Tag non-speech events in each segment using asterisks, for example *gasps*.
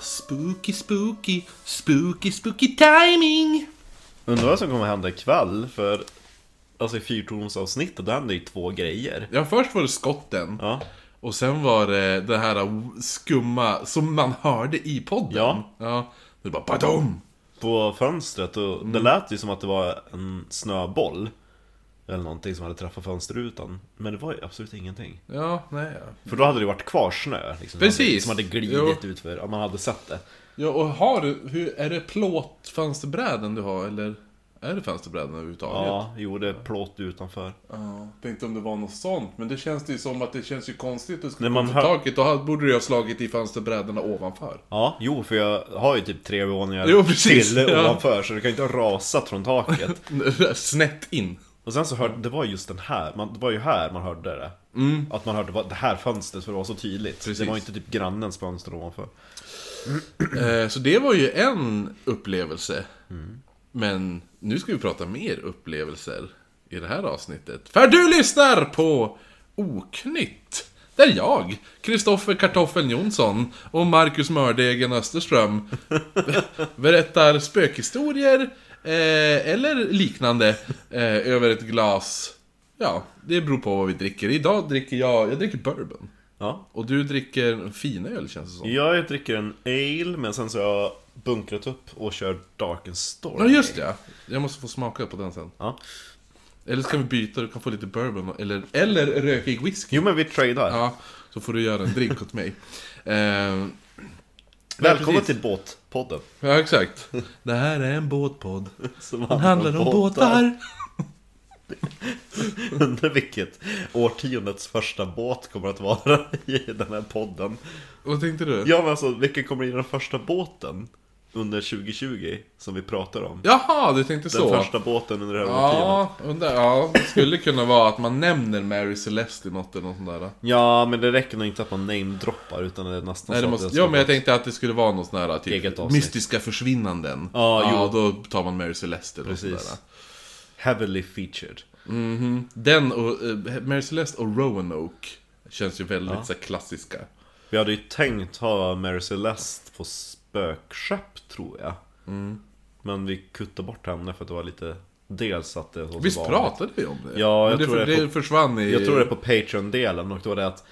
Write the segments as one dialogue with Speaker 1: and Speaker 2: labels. Speaker 1: Spooky, spooky, spooky, spooky timing!
Speaker 2: Undrar vad som kommer hända ikväll för Alltså i fyrtornsavsnittet, då hände ju två grejer.
Speaker 1: Ja, först var det skotten.
Speaker 2: Ja.
Speaker 1: Och sen var det det här skumma som man hörde i podden.
Speaker 2: Ja.
Speaker 1: ja. Det bara badom!
Speaker 2: På fönstret, och
Speaker 1: Mm.
Speaker 2: det lät ju som att det var en snöboll. Eller någonting som hade träffat fönsterrutan. Men det var ju absolut ingenting.
Speaker 1: Ja, nej. ja.
Speaker 2: För då hade det ju varit kvar snö. Liksom,
Speaker 1: Precis.
Speaker 2: Som hade glidit utför, om man hade sett det.
Speaker 1: Ja, och har du, hur, är det plåtfönsterbräden du har eller? Är det fönsterbräden överhuvudtaget?
Speaker 2: Ja, jo det är plåt utanför.
Speaker 1: Ja, tänkte om det var något sånt, men det känns det ju som att det känns ju konstigt att
Speaker 2: När
Speaker 1: skulle
Speaker 2: man
Speaker 1: man på
Speaker 2: hör-
Speaker 1: taket, då hade- borde du ha slagit i fönsterbrädorna ovanför.
Speaker 2: Ja, jo för jag har ju typ tre våningar
Speaker 1: Jo, precis.
Speaker 2: till
Speaker 1: Ja.
Speaker 2: ovanför så det kan ju inte ha rasat från taket.
Speaker 1: *laughs* Snett in.
Speaker 2: Och sen så hörde, det var just den här, man, det var ju här man hörde det. Att man hörde vad- det här fönstret för det var så tydligt.
Speaker 1: Mm. Precis.
Speaker 2: Det var ju inte typ grannens fönster ovanför.
Speaker 1: Eh, Så det var ju en upplevelse. Men nu ska vi prata mer upplevelser i det här avsnittet. För du lyssnar på Oknytt! Där jag, Kristoffer Kartoffeln Jonsson och Marcus Mördegen Österström *laughs* berättar spökhistorier eh, eller liknande eh, över ett glas. Ja, det beror på vad vi dricker. Idag dricker jag, jag dricker bourbon.
Speaker 2: Ja.
Speaker 1: Och du dricker en finöl känns det som.
Speaker 2: Jag dricker en ale men sen så har jag bunkrat upp och kör Dark and Storm.
Speaker 1: Ja just det, ja. jag måste få smaka på den sen.
Speaker 2: Ja.
Speaker 1: Eller så kan vi byta, du kan få lite bourbon eller, eller rökig whisky.
Speaker 2: Jo men vi tradar.
Speaker 1: Ja, så får du göra en drink åt mig. *laughs* Eh,
Speaker 2: Välkommen
Speaker 1: precis.
Speaker 2: till båtpodden.
Speaker 1: ja, exakt. Det här är en båtpodd.
Speaker 2: Som
Speaker 1: Den handlar om båtar.
Speaker 2: *laughs* Undrar vilket årtiondets första båt kommer att vara *laughs* i den här podden.
Speaker 1: Vad tänkte du?
Speaker 2: Ja men alltså, vilken kommer bli den första båten under 2020 som vi pratar om?
Speaker 1: Jaha, du tänkte
Speaker 2: Den
Speaker 1: så.
Speaker 2: första båten under det här årtiondet.
Speaker 1: Ja, undrar, ja, det skulle kunna vara att man nämner Mary Celeste i något eller något sånt där.
Speaker 2: Ja, men det räcker nog inte att man namedroppar utan det är nästan
Speaker 1: Nej,
Speaker 2: så
Speaker 1: det
Speaker 2: att
Speaker 1: måste,
Speaker 2: jag ska-
Speaker 1: ja, men jag tänkte att det skulle vara något sånt där
Speaker 2: Eget
Speaker 1: typ
Speaker 2: avsnitt.
Speaker 1: mystiska försvinnanden.
Speaker 2: Ja,
Speaker 1: ja, då tar man Mary Celeste eller något sånt där.
Speaker 2: Precis. Heavily featured.
Speaker 1: Den och eh, Mary Celeste och Roanoke känns ju väldigt så här, klassiska.
Speaker 2: Vi hade ju tänkt ha Mary Celeste på spökskepp tror jag.
Speaker 1: Mm.
Speaker 2: Men vi kuttade bort henne för att det var lite... Dels att det var så
Speaker 1: Visst
Speaker 2: vanligt.
Speaker 1: pratade vi om det?
Speaker 2: Ja, jag
Speaker 1: Men det,
Speaker 2: tror
Speaker 1: för,
Speaker 2: det
Speaker 1: det
Speaker 2: är på-
Speaker 1: försvann i...
Speaker 2: Jag tror det är på Patreon-delen och då var det att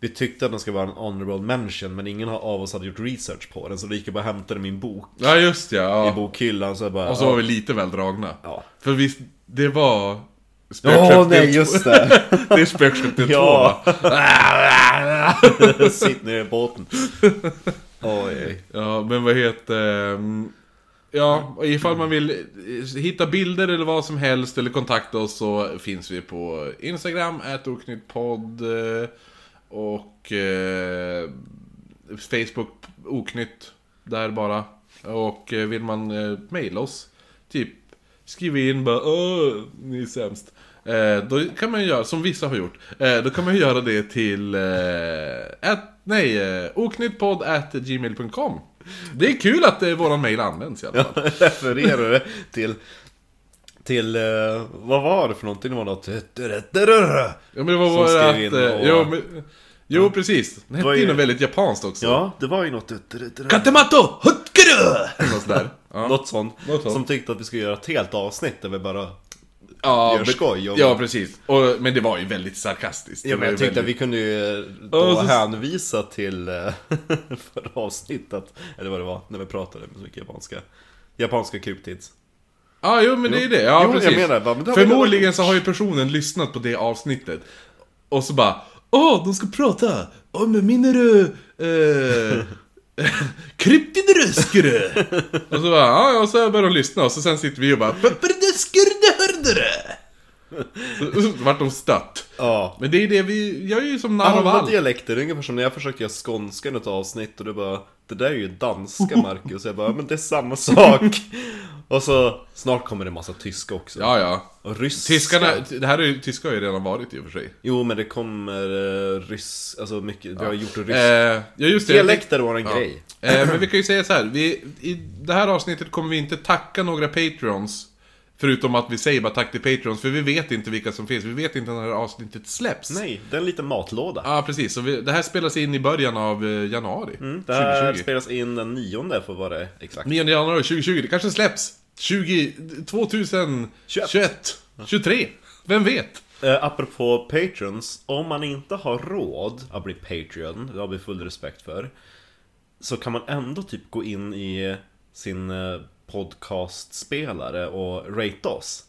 Speaker 2: vi tyckte att den ska vara en honorable mention men ingen av oss hade gjort research på den så då gick jag bara och hämtade min bok
Speaker 1: Ja, just det, ja.
Speaker 2: i bokhyllan så jag bara...
Speaker 1: Och så var vi lite väl dragna.
Speaker 2: Ja.
Speaker 1: För visst, det var...
Speaker 2: Åh
Speaker 1: Spökskepp *laughs*
Speaker 2: nej,
Speaker 1: del-
Speaker 2: just det!
Speaker 1: Det är Spökskepp
Speaker 2: *laughs*
Speaker 1: del 2
Speaker 2: Ja.
Speaker 1: va?
Speaker 2: *laughs* Sitt ner i båten. Oj.
Speaker 1: Ja, men vad heter... ehm, Ja, och ifall man vill eh, hitta bilder eller vad som helst eller kontakta oss så finns vi på Instagram, oknyttpodd eh, och eh, Facebook oknytt där bara. Och eh, vill man eh, mejla oss, typ skriv in bara Åh, ni är sämst. Eh, då kan man ju göra, som vissa har gjort, eh, då kan man ju göra det till eh, at, nej, eh, oknyttpodd at gmail.com. Det är kul att eh, våran mejl används i alla fall.
Speaker 2: *laughs* Refererar det till... Till... eh, vad var det för någonting? Det var något... eh,
Speaker 1: Ja men det var
Speaker 2: Som
Speaker 1: vårat...
Speaker 2: skrev in
Speaker 1: eh,
Speaker 2: och-
Speaker 1: Jo, men, jo precis. Det
Speaker 2: var
Speaker 1: hette
Speaker 2: ju-
Speaker 1: ju något väldigt japanskt också.
Speaker 2: Ja, det var ju något...
Speaker 1: Katemato! Hutkuru! Något sådär. Ja,
Speaker 2: Något sånt.
Speaker 1: Något sånt.
Speaker 2: Som tyckte att vi skulle göra ett helt avsnitt där vi bara...
Speaker 1: ja,
Speaker 2: gör
Speaker 1: men-
Speaker 2: skoj om-
Speaker 1: ja precis. Och, men det var ju väldigt sarkastiskt.
Speaker 2: Ja,
Speaker 1: Det var
Speaker 2: men jag
Speaker 1: ju
Speaker 2: tyckte att
Speaker 1: väldigt-
Speaker 2: vi kunde ju eh,
Speaker 1: Ja,
Speaker 2: då
Speaker 1: så-
Speaker 2: hänvisa till eh, *laughs* förra avsnittet, eller vad det var, när vi pratade med så mycket japanska. Japanska kryptids.
Speaker 1: Ja, jo men det är ju det. Ja,
Speaker 2: Jo, jag
Speaker 1: precis.
Speaker 2: menar, va, men det har vi
Speaker 1: Förmodligen så har ju personen lyssnat på det avsnittet. Och så bara Åh, de ska prata om minneru... Eh, *laughs* Kryptideröskere! *laughs* och så bara, ja, ja, och så börjar de lyssna och så sen sitter vi och bara Pöpperdeskerdehördere! Så, så vart de stött.
Speaker 2: Ja.
Speaker 1: Men det är ju det vi, jag är ju som narr av
Speaker 2: Alla
Speaker 1: allt.
Speaker 2: dialekter, det är ungefär som när jag försökte göra skånska i något avsnitt och du bara Det där är ju
Speaker 1: *laughs*
Speaker 2: danska Marcus, jag bara men det är samma sak Och så snart kommer det en massa tyska också
Speaker 1: Ja, ja.
Speaker 2: Och ryska
Speaker 1: Tyskarna, det här är ju, tyska har ju redan varit i och för sig.
Speaker 2: Jo men det kommer eh, ryss, alltså mycket, vi har gjort rysk
Speaker 1: Eh, ja, just det. jag tänkte-
Speaker 2: Dialekter var en
Speaker 1: Ja.
Speaker 2: grej
Speaker 1: Eh, men vi kan ju säga så här. Vi, I det här avsnittet kommer vi inte tacka några Patreons. Förutom att vi säger bara tack till Patrons, för vi vet inte vilka som finns. Vi vet inte när det här avsnittet släpps.
Speaker 2: Nej, det är en liten matlåda.
Speaker 1: Ja, precis. Så vi, det här spelas in i början av eh, januari
Speaker 2: Mm, Det här
Speaker 1: 2020.
Speaker 2: spelas in den nionde för att vara exakt.
Speaker 1: 9 januari 2020, det kanske släpps 20, 2021, 23, vem vet?
Speaker 2: Eh, apropå patrons, om man inte har råd att bli patreon, det har vi full respekt för Så kan man ändå typ gå in i sin eh, podcastspelare och rate oss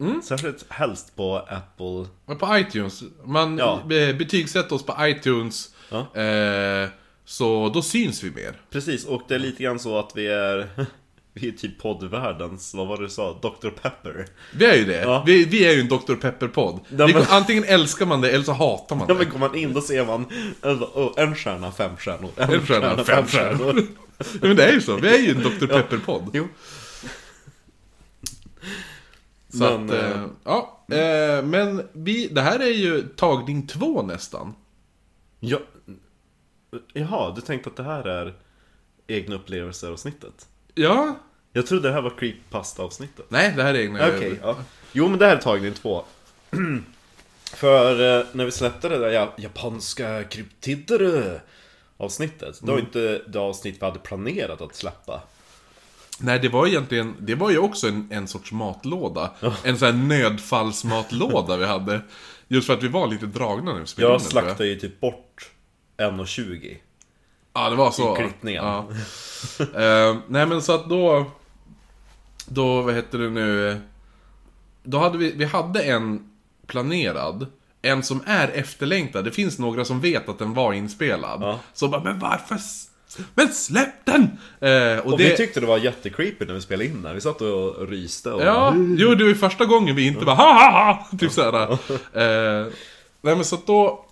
Speaker 1: Mm.
Speaker 2: Särskilt helst på Apple
Speaker 1: Men På iTunes, man
Speaker 2: Ja.
Speaker 1: be- betygsätter oss på iTunes,
Speaker 2: Ja.
Speaker 1: eh, så då syns vi mer.
Speaker 2: Precis, och det är lite grann så att vi är *laughs* Vi är typ poddvärldens, vad var det du sa? Dr. Pepper
Speaker 1: Vi är ju det,
Speaker 2: Ja.
Speaker 1: vi, vi är ju en Dr. Pepper-podd.
Speaker 2: Ja,
Speaker 1: Vi-
Speaker 2: men-
Speaker 1: Antingen älskar man det eller så hatar man
Speaker 2: Ja
Speaker 1: det.
Speaker 2: *laughs* men går man in då ser man en, oh, en stjärna, fem stjärnor
Speaker 1: En stjärna,
Speaker 2: *laughs*
Speaker 1: fem
Speaker 2: stjärnor
Speaker 1: Ja, Men det är ju så, vi är ju en Dr. Pepper-podd.
Speaker 2: Jo,
Speaker 1: Så
Speaker 2: *laughs* Men,
Speaker 1: att, eh,
Speaker 2: eh,
Speaker 1: ja. Eh, men vi, det här är ju tagning två nästan.
Speaker 2: Ja, jaha, du tänkte att det här är egna upplevelser-avsnittet?
Speaker 1: Ja,
Speaker 2: Jag trodde det här var creepypasta-avsnittet.
Speaker 1: nej det här är egna
Speaker 2: Okej, ja. Jo, men det här är tagning två. *clears throat* För eh, när vi släppte det där ja, japanska kryptider eh, avsnittet, det var
Speaker 1: Mm.
Speaker 2: ju inte det avsnitt vi hade planerat att släppa.
Speaker 1: Nej, det var egentligen, det var ju också en, en sorts matlåda. En sån här nödfallsmatlåda vi hade. Just för att vi var lite dragna när vi spelade in
Speaker 2: Jag
Speaker 1: den, tror
Speaker 2: slaktade ju typ bort 1.20.
Speaker 1: Ja, det var så.
Speaker 2: i klippningen.
Speaker 1: Ja. Eh, nej, men så att då... Då, vad heter det nu? Då hade vi, vi hade en planerad. En som är efterlängtad. Det finns några som vet att den var inspelad.
Speaker 2: Ja.
Speaker 1: Så bara, men varför? s- Men släpp den! Eh, och
Speaker 2: Och
Speaker 1: det...
Speaker 2: vi tyckte det var jättecreepy när vi spelade in den. Vi satt och ryste och...
Speaker 1: Ja, jo det var ju första gången vi inte bara ha ha ha! *laughs* Typ såhär. Eh, nej men så att då,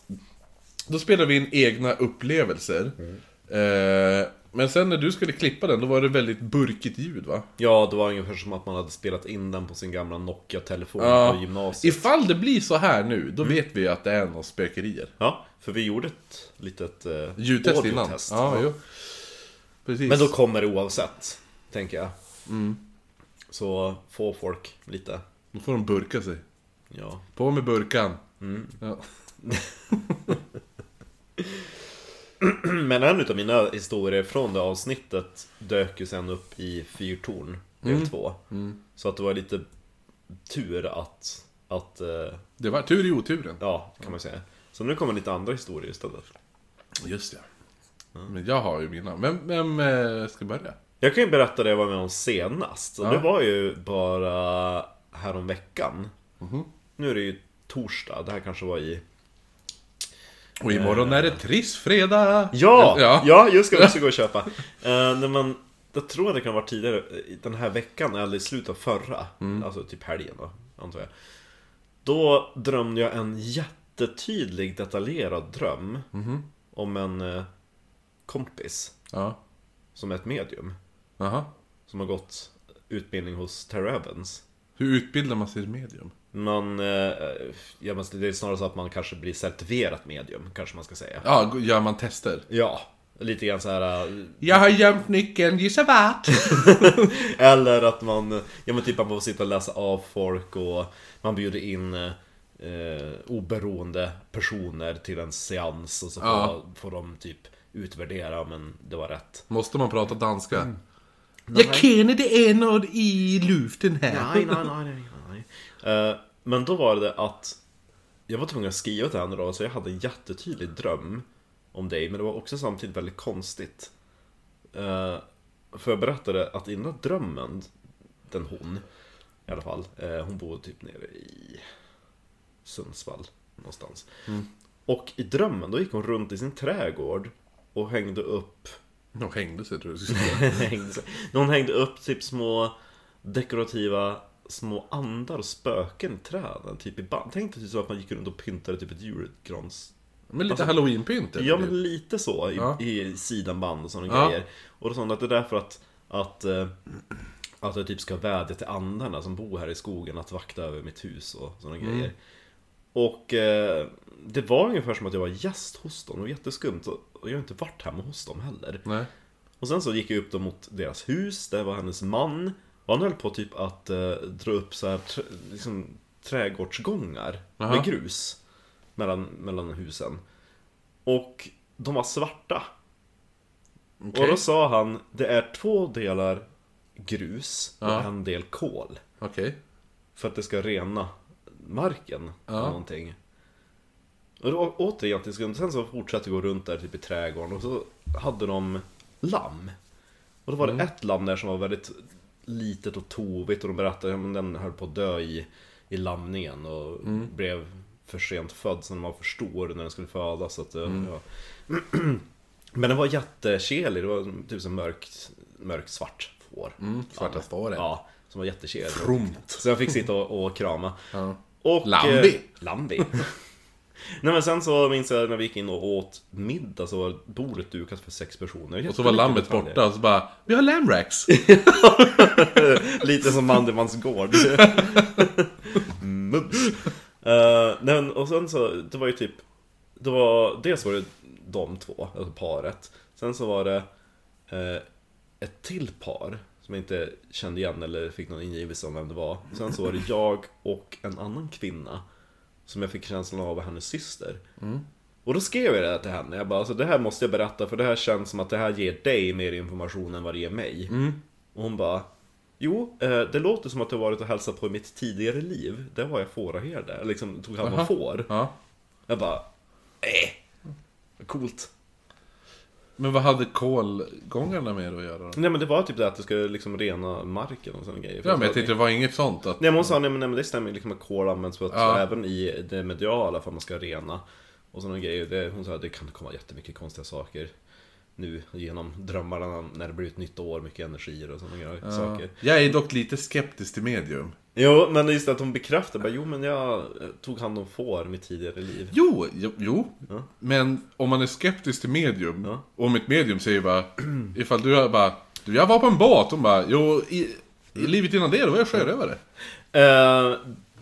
Speaker 1: då spelade vi in egna upplevelser. Eh, men sen när du skulle klippa den, då var det väldigt burkigt ljud va?
Speaker 2: Ja, det var ungefär som att man hade spelat in den på sin gamla Nokia-telefon
Speaker 1: Ja.
Speaker 2: på gymnasiet.
Speaker 1: Ifall det blir så här nu, då vet vi att det är några spökerier.
Speaker 2: Ja, för vi gjorde ett litet eh,
Speaker 1: Ljudtest innan.
Speaker 2: audiotest.
Speaker 1: Ja, jo. Precis.
Speaker 2: Men då kommer det oavsett, tänker jag.
Speaker 1: Mm.
Speaker 2: Så få folk lite,
Speaker 1: Då får de burka sig.
Speaker 2: ja. *clears throat*
Speaker 1: På med burkan. Ja.
Speaker 2: Men en av mina historier från det avsnittet dök ju sen upp i Fyrtorn, del
Speaker 1: Mm.
Speaker 2: två. Så att det var lite tur att, att eh,
Speaker 1: Det var tur i oturen.
Speaker 2: ja, kan man säga. Så nu kommer lite andra historier istället.
Speaker 1: Just ja. Men jag har ju mina. Vem, vem eh, ska börja?
Speaker 2: Jag kan ju berätta det jag var med om senast. Och
Speaker 1: Ja.
Speaker 2: Det var ju bara häromveckan. Nu är det ju torsdag, det här kanske var i...
Speaker 1: Och imorgon är det trissfredag!
Speaker 2: Eh. Ja!
Speaker 1: ja!
Speaker 2: Ja, jag ska också gå och köpa. Eh, när man, jag tror det kan vara tidigare, eh, den här veckan eller i slutet av förra. Alltså typ helgen då, antar jag. Då drömde jag en jättetydlig detaljerad dröm. Om en eh, kompis
Speaker 1: Ja.
Speaker 2: som är ett medium.
Speaker 1: Aha.
Speaker 2: Som har gått utbildning hos Terry Evans.
Speaker 1: Hur utbildar man sig i medium?
Speaker 2: Man, eh, ja, men det är snarare så att man kanske blir certifierat medium, kanske man ska säga.
Speaker 1: Ja, g- gör man tester?
Speaker 2: Ja, lite grann så här. eh,
Speaker 1: Jag har gömt nyckeln, gissa vart! *laughs*
Speaker 2: Eller att man, ja men typ att man får sitta och läsa av folk och man bjuder in eh, eh, oberoende personer till en seans och så får,
Speaker 1: Ja.
Speaker 2: får de typ utvärdera, men det var rätt.
Speaker 1: Måste man prata danska?
Speaker 2: Mm.
Speaker 1: Jag känner det är något i luften *laughs* här.
Speaker 2: Nej, nej, nej, nej, nej. Eh, Men då var det att jag var tvungen att skriva till henne då, så jag hade en jättetydlig dröm om dig, men det var också samtidigt väldigt konstigt. Eh, För jag berättade att innan drömmen, den hon i alla fall, eh, hon bor typ nere i Sundsvall någonstans. Och i drömmen, då gick hon runt i sin trädgård och hängde upp
Speaker 1: De hängde sig tror jag *laughs* du skulle säga.
Speaker 2: hängde sig. Någon hängde upp typ små dekorativa små andar och spöken i träden. Typ i band. Tänk dig typ så att man gick runt och pyntade typ ett typ julgrans...
Speaker 1: Men lite
Speaker 2: Alltså-
Speaker 1: halloweenpynt eller?
Speaker 2: Ja men lite så i,
Speaker 1: Ja.
Speaker 2: i sidanband och sådana
Speaker 1: Ja.
Speaker 2: grejer. Och då sa hon att det är därför att, att eh, att jag typ ska vädja till andarna som bor här i skogen att vakta över mitt hus och sådana grejer. Och eh, det var ungefär som att jag var gäst hos dem, det var jätteskumt. Och och jag har inte varit hemma hos dem heller.
Speaker 1: Nej.
Speaker 2: Och sen så gick jag upp då mot deras hus, där var hennes man och Och han höll på typ att eh, dra upp så här, tr- liksom, trädgårdsgångar
Speaker 1: Aha.
Speaker 2: med grus mellan, mellan husen. Och de var svarta.
Speaker 1: Okej.
Speaker 2: Och då sa han, det är två delar grus och
Speaker 1: Ja.
Speaker 2: en del kol.
Speaker 1: Okej.
Speaker 2: För att det ska rena marken
Speaker 1: Ja.
Speaker 2: eller någonting. Och då, återigen till skumt, sen så fortsatte vi gå runt där typ i trädgården och så hade de lamm. Och då var
Speaker 1: Mm.
Speaker 2: det ett lamm där som var väldigt litet och tovigt och de berättade att den höll på att dö i, i lamningen och
Speaker 1: Mm.
Speaker 2: blev för sent född så den var för stor när den skulle födas. Så att, det-
Speaker 1: Mm.
Speaker 2: ja. *clears throat* Men den var jättekelig, det var typ som mörkt, mörkt svart får.
Speaker 1: Mm, svarta fåret.
Speaker 2: Ja, som var jättekelig.
Speaker 1: Fromt.
Speaker 2: Så jag fick sitta och, och krama.
Speaker 1: Ja.
Speaker 2: Och,
Speaker 1: Lambi.
Speaker 2: eh, Lambi. *laughs* Nej men sen så minns jag när vi gick in och åt middag så var bordet dukat för sex personer.
Speaker 1: Och så var lammet
Speaker 2: Jättemycket detaljer.
Speaker 1: borta och så bara Vi har lamracks! *laughs*
Speaker 2: Lite som Mandelmans gård. Mums. Eh, nej, men, och sen så, det var ju typ... Det var, dels var det de två, alltså paret. Sen så var det eh, ett till par som jag inte kände igen eller fick någon ingivelse om vem det var. Sen så var det jag och en annan kvinna som jag fick känslan av var hennes syster.
Speaker 1: Mm.
Speaker 2: Och då skrev jag det här till henne. Jag bara, alltså, det här måste jag berätta för det här känns som att det här ger dig mer information än vad det ger mig.
Speaker 1: Mm.
Speaker 2: Och hon bara Jo, eh, det låter som att du varit och hälsat på i mitt tidigare liv. Där var jag fåraherde, liksom tog hand om
Speaker 1: Aha.
Speaker 2: får.
Speaker 1: *laughs* Ja.
Speaker 2: Jag bara, eh, coolt.
Speaker 1: Men vad hade kolgångarna med det att göra då?
Speaker 2: Nej men det var typ det att du skulle liksom rena marken och sådana grejer.
Speaker 1: Ja men jag tänkte det var inget sånt att...
Speaker 2: Nej men hon sa, nej men, nej, men det stämmer liksom att kol används för att
Speaker 1: Ja.
Speaker 2: även i det mediala för att man ska rena. Och sådana grejer. Det, hon sa att det kan komma jättemycket konstiga saker nu genom drömmarna när det blir ett nytt år, mycket energier och sådana grejer.
Speaker 1: Ja.
Speaker 2: saker.
Speaker 1: Jag är dock lite skeptisk till medium.
Speaker 2: Jo, men just att hon bekräftar bara, jo men jag eh, tog hand om får i mitt tidigare liv.
Speaker 1: Jo, jo, jo.
Speaker 2: Ja.
Speaker 1: men om man är skeptisk till medium,
Speaker 2: Ja.
Speaker 1: och om ett medium säger bara, *clears throat* ifall du har bara, du jag var på en båt, hon bara, jo, i, i
Speaker 2: Mm.
Speaker 1: livet innan det då var jag sjörövare.
Speaker 2: Eh,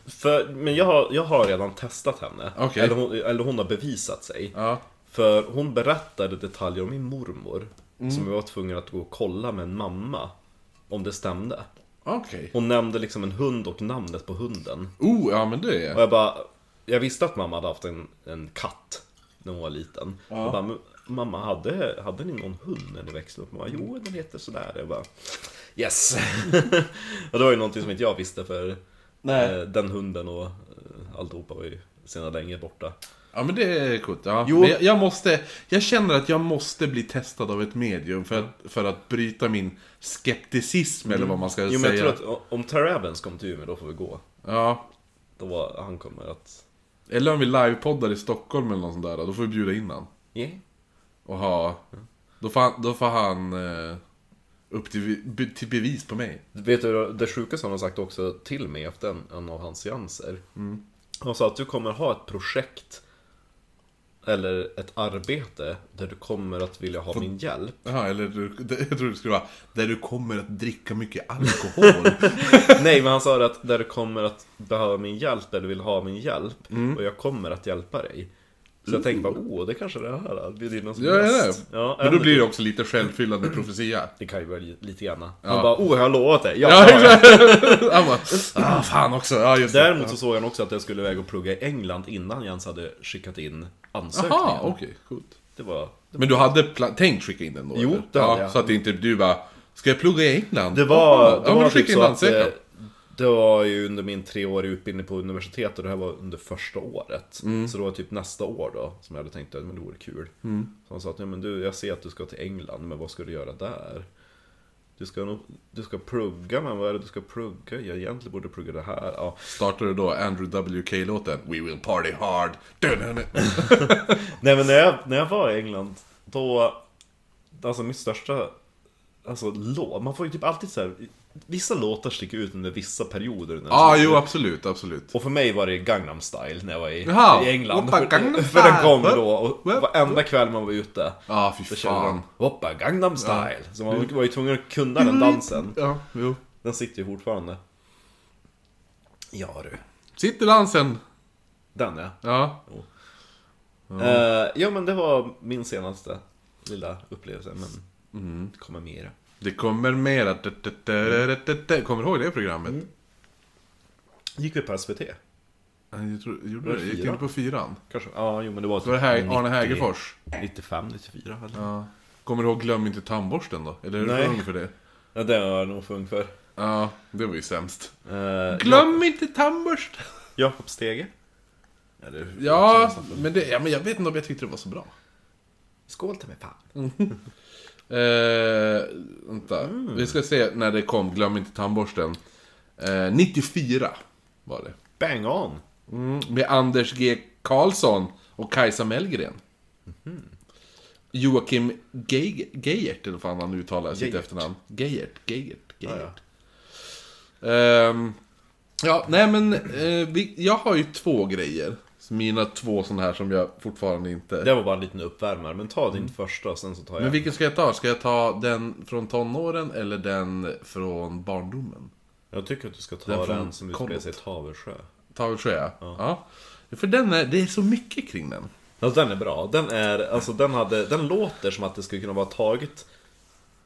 Speaker 2: för, men jag har, jag har redan testat henne.
Speaker 1: Okej.
Speaker 2: Eller, hon, eller hon har bevisat sig.
Speaker 1: Ja,
Speaker 2: För hon berättade detaljer om min mormor.
Speaker 1: Mm.
Speaker 2: Som jag var tvungen att gå och kolla med en mamma. Om det stämde.
Speaker 1: okej.
Speaker 2: Hon nämnde liksom en hund och namnet på hunden.
Speaker 1: Oh, ja men det
Speaker 2: Och
Speaker 1: är
Speaker 2: jag bara, jag visste att mamma hade haft en, en katt när hon var liten.
Speaker 1: Ja.
Speaker 2: Jag bara, "Men mamma hade, hade ni någon hund när ni växte upp? Hon bara, jo den heter sådär. Jag bara, yes! *laughs* och det var ju någonting som inte jag visste för
Speaker 1: Nej.
Speaker 2: eh, den hunden och eh, alltihopa var ju sedan länge borta.
Speaker 1: Ja men det är coolt, ja.
Speaker 2: Jo.
Speaker 1: Men jag, jag måste, jag känner att jag måste bli testad av ett medium för att, för att bryta min skepticism eller vad man ska
Speaker 2: Mm. Jo men
Speaker 1: säga.
Speaker 2: jag tror att o- om Terry Evans kom till Umeå då får vi gå.
Speaker 1: Ja.
Speaker 2: Då var, han kommer att...
Speaker 1: Eller om vi livepoddar i Stockholm eller något sånt där, då får vi bjuda in han.
Speaker 2: Yeah.
Speaker 1: Och ha... Då får han... Då får han eh, upp till, be, till bevis på mig.
Speaker 2: Vet du, det sjukaste han har sagt också till mig efter en, en av hans seanser.
Speaker 1: Mm.
Speaker 2: Han sa att du kommer ha ett projekt eller ett arbete där du kommer att vilja ha min hjälp.
Speaker 1: Jaha, eller du, jag tror det skulle vara... Där du kommer att dricka mycket alkohol.
Speaker 2: Nej, men han sa det att där du kommer att behöva min hjälp eller vill ha min hjälp
Speaker 1: Mm.
Speaker 2: och jag kommer att hjälpa dig. Så jag tänkte bara, oh, det kanske är det här att bjuda in någon som
Speaker 1: ja, ja, ja.
Speaker 2: gäst. *laughs* Ja,
Speaker 1: Men då blir det också lite självfyllande profetia. *laughs*
Speaker 2: Det kan ju vara lite- lite grann. Han
Speaker 1: Ja.
Speaker 2: bara, oh, jag har lovat det. Ja,
Speaker 1: Ja,
Speaker 2: det har jag.
Speaker 1: exakt! Han bara, ah, fan också, ja just det.
Speaker 2: Däremot så såg han också att jag skulle iväg och plugga i England innan jag ens hade skickat in ansökningen.
Speaker 1: Jaha, okej, coolt.
Speaker 2: Det var...
Speaker 1: Men du hade pla- tänkt skicka in den då?
Speaker 2: Jo,
Speaker 1: eller?
Speaker 2: det hade
Speaker 1: ja,
Speaker 2: jag.
Speaker 1: Så att inte du bara, ska jag plugga i England?
Speaker 2: Det
Speaker 1: ja,
Speaker 2: var, det
Speaker 1: men
Speaker 2: var
Speaker 1: då skicka
Speaker 2: typ
Speaker 1: in
Speaker 2: så att
Speaker 1: ansökan.
Speaker 2: det, det var ju under min treåriga utbildning på universitetet och det här var under första året.
Speaker 1: Mm.
Speaker 2: Så det var typ nästa år då som jag hade tänkt att men det vore kul. Så han sa att ja, men du, jag ser att du ska till England, men vad ska du göra där? Du ska, nog, du ska plugga, men vad är det du ska plugga? Jag egentligen borde plugga det här. Ja.
Speaker 1: Startar du då Andrew WK-låten We will party hard?
Speaker 2: Nej men när jag, när jag var i England, då... Alltså mitt största... Alltså låt, man får ju typ alltid så här... Vissa låtar sticker ut under vissa perioder. under en
Speaker 1: Ja, ah,
Speaker 2: säsong.
Speaker 1: jo absolut, absolut.
Speaker 2: Och för mig var det Gangnam style när jag var i,
Speaker 1: Jaha.
Speaker 2: i England.
Speaker 1: Hoppa,
Speaker 2: För-
Speaker 1: Gangnam
Speaker 2: För den kom
Speaker 1: style.
Speaker 2: då och
Speaker 1: Whoop,
Speaker 2: varenda kväll man var ute.
Speaker 1: Ja, ah, fy
Speaker 2: Då körde de
Speaker 1: fan.
Speaker 2: Hoppa Gangnam style. Så man var ju tvungen att kunna
Speaker 1: Mm.
Speaker 2: den dansen.
Speaker 1: Ja, jo.
Speaker 2: Den sitter ju fortfarande. Ja du.
Speaker 1: Sitter dansen?
Speaker 2: Den ja.
Speaker 1: Ja. Mm.
Speaker 2: Eh, ja men det var min senaste lilla upplevelse. Men det kommer mera.
Speaker 1: Det kommer mera... Kommer du ihåg det programmet?
Speaker 2: Gick vi på SVT?
Speaker 1: Nej, Jag tror, gjorde
Speaker 2: Var
Speaker 1: det?
Speaker 2: det
Speaker 1: Gick
Speaker 2: fyra?
Speaker 1: det på fyran?
Speaker 2: Kanske? Ja, jo men det var typ
Speaker 1: Det var det här, Arne Hägerfors.
Speaker 2: 95, 94 eller?
Speaker 1: Ja. Kommer du ihåg Glöm inte tandborsten då? Eller är du
Speaker 2: Nej.
Speaker 1: för ung för det?
Speaker 2: Ja, det var jag nog för ung för.
Speaker 1: Ja, det var ju sämst.
Speaker 2: Eh,
Speaker 1: Glöm inte tandborsten!
Speaker 2: Jakob Stege? Eller,
Speaker 1: *laughs* Ja men, det, ja, men jag vet inte om jag tyckte det var så bra.
Speaker 2: Skål till mig fan.
Speaker 1: Eh, vänta. Vi ska se när det kom, glöm inte tandborsten. Eh, 94 var det.
Speaker 2: Bang on!
Speaker 1: Med Anders G Karlsson och Kajsa Mellgren. Joakim Geij- Geijert, eller fan han uttalar sitt
Speaker 2: Geijert.
Speaker 1: efternamn. Geijert, Geijert, Geijert.
Speaker 2: Ja,
Speaker 1: Ehm, ja, nej men eh, vi, jag har ju två grejer. Mina två sådana här som jag fortfarande inte...
Speaker 2: Det var bara en liten uppvärmare, men ta din första och sen så tar
Speaker 1: Mm. Men
Speaker 2: jag...
Speaker 1: vilken ska jag ta? Ska jag ta den från tonåren eller den från barndomen?
Speaker 2: Jag tycker att du ska ta
Speaker 1: Den
Speaker 2: den,
Speaker 1: från
Speaker 2: som
Speaker 1: Kollot.
Speaker 2: utspelar sig i Tavelsjö.
Speaker 1: Tavelsjö? Ja. ja. För den är, det är så mycket kring den.
Speaker 2: Ja, Alltså, den är bra. Den är, alltså den hade, den låter som att det skulle kunna vara taget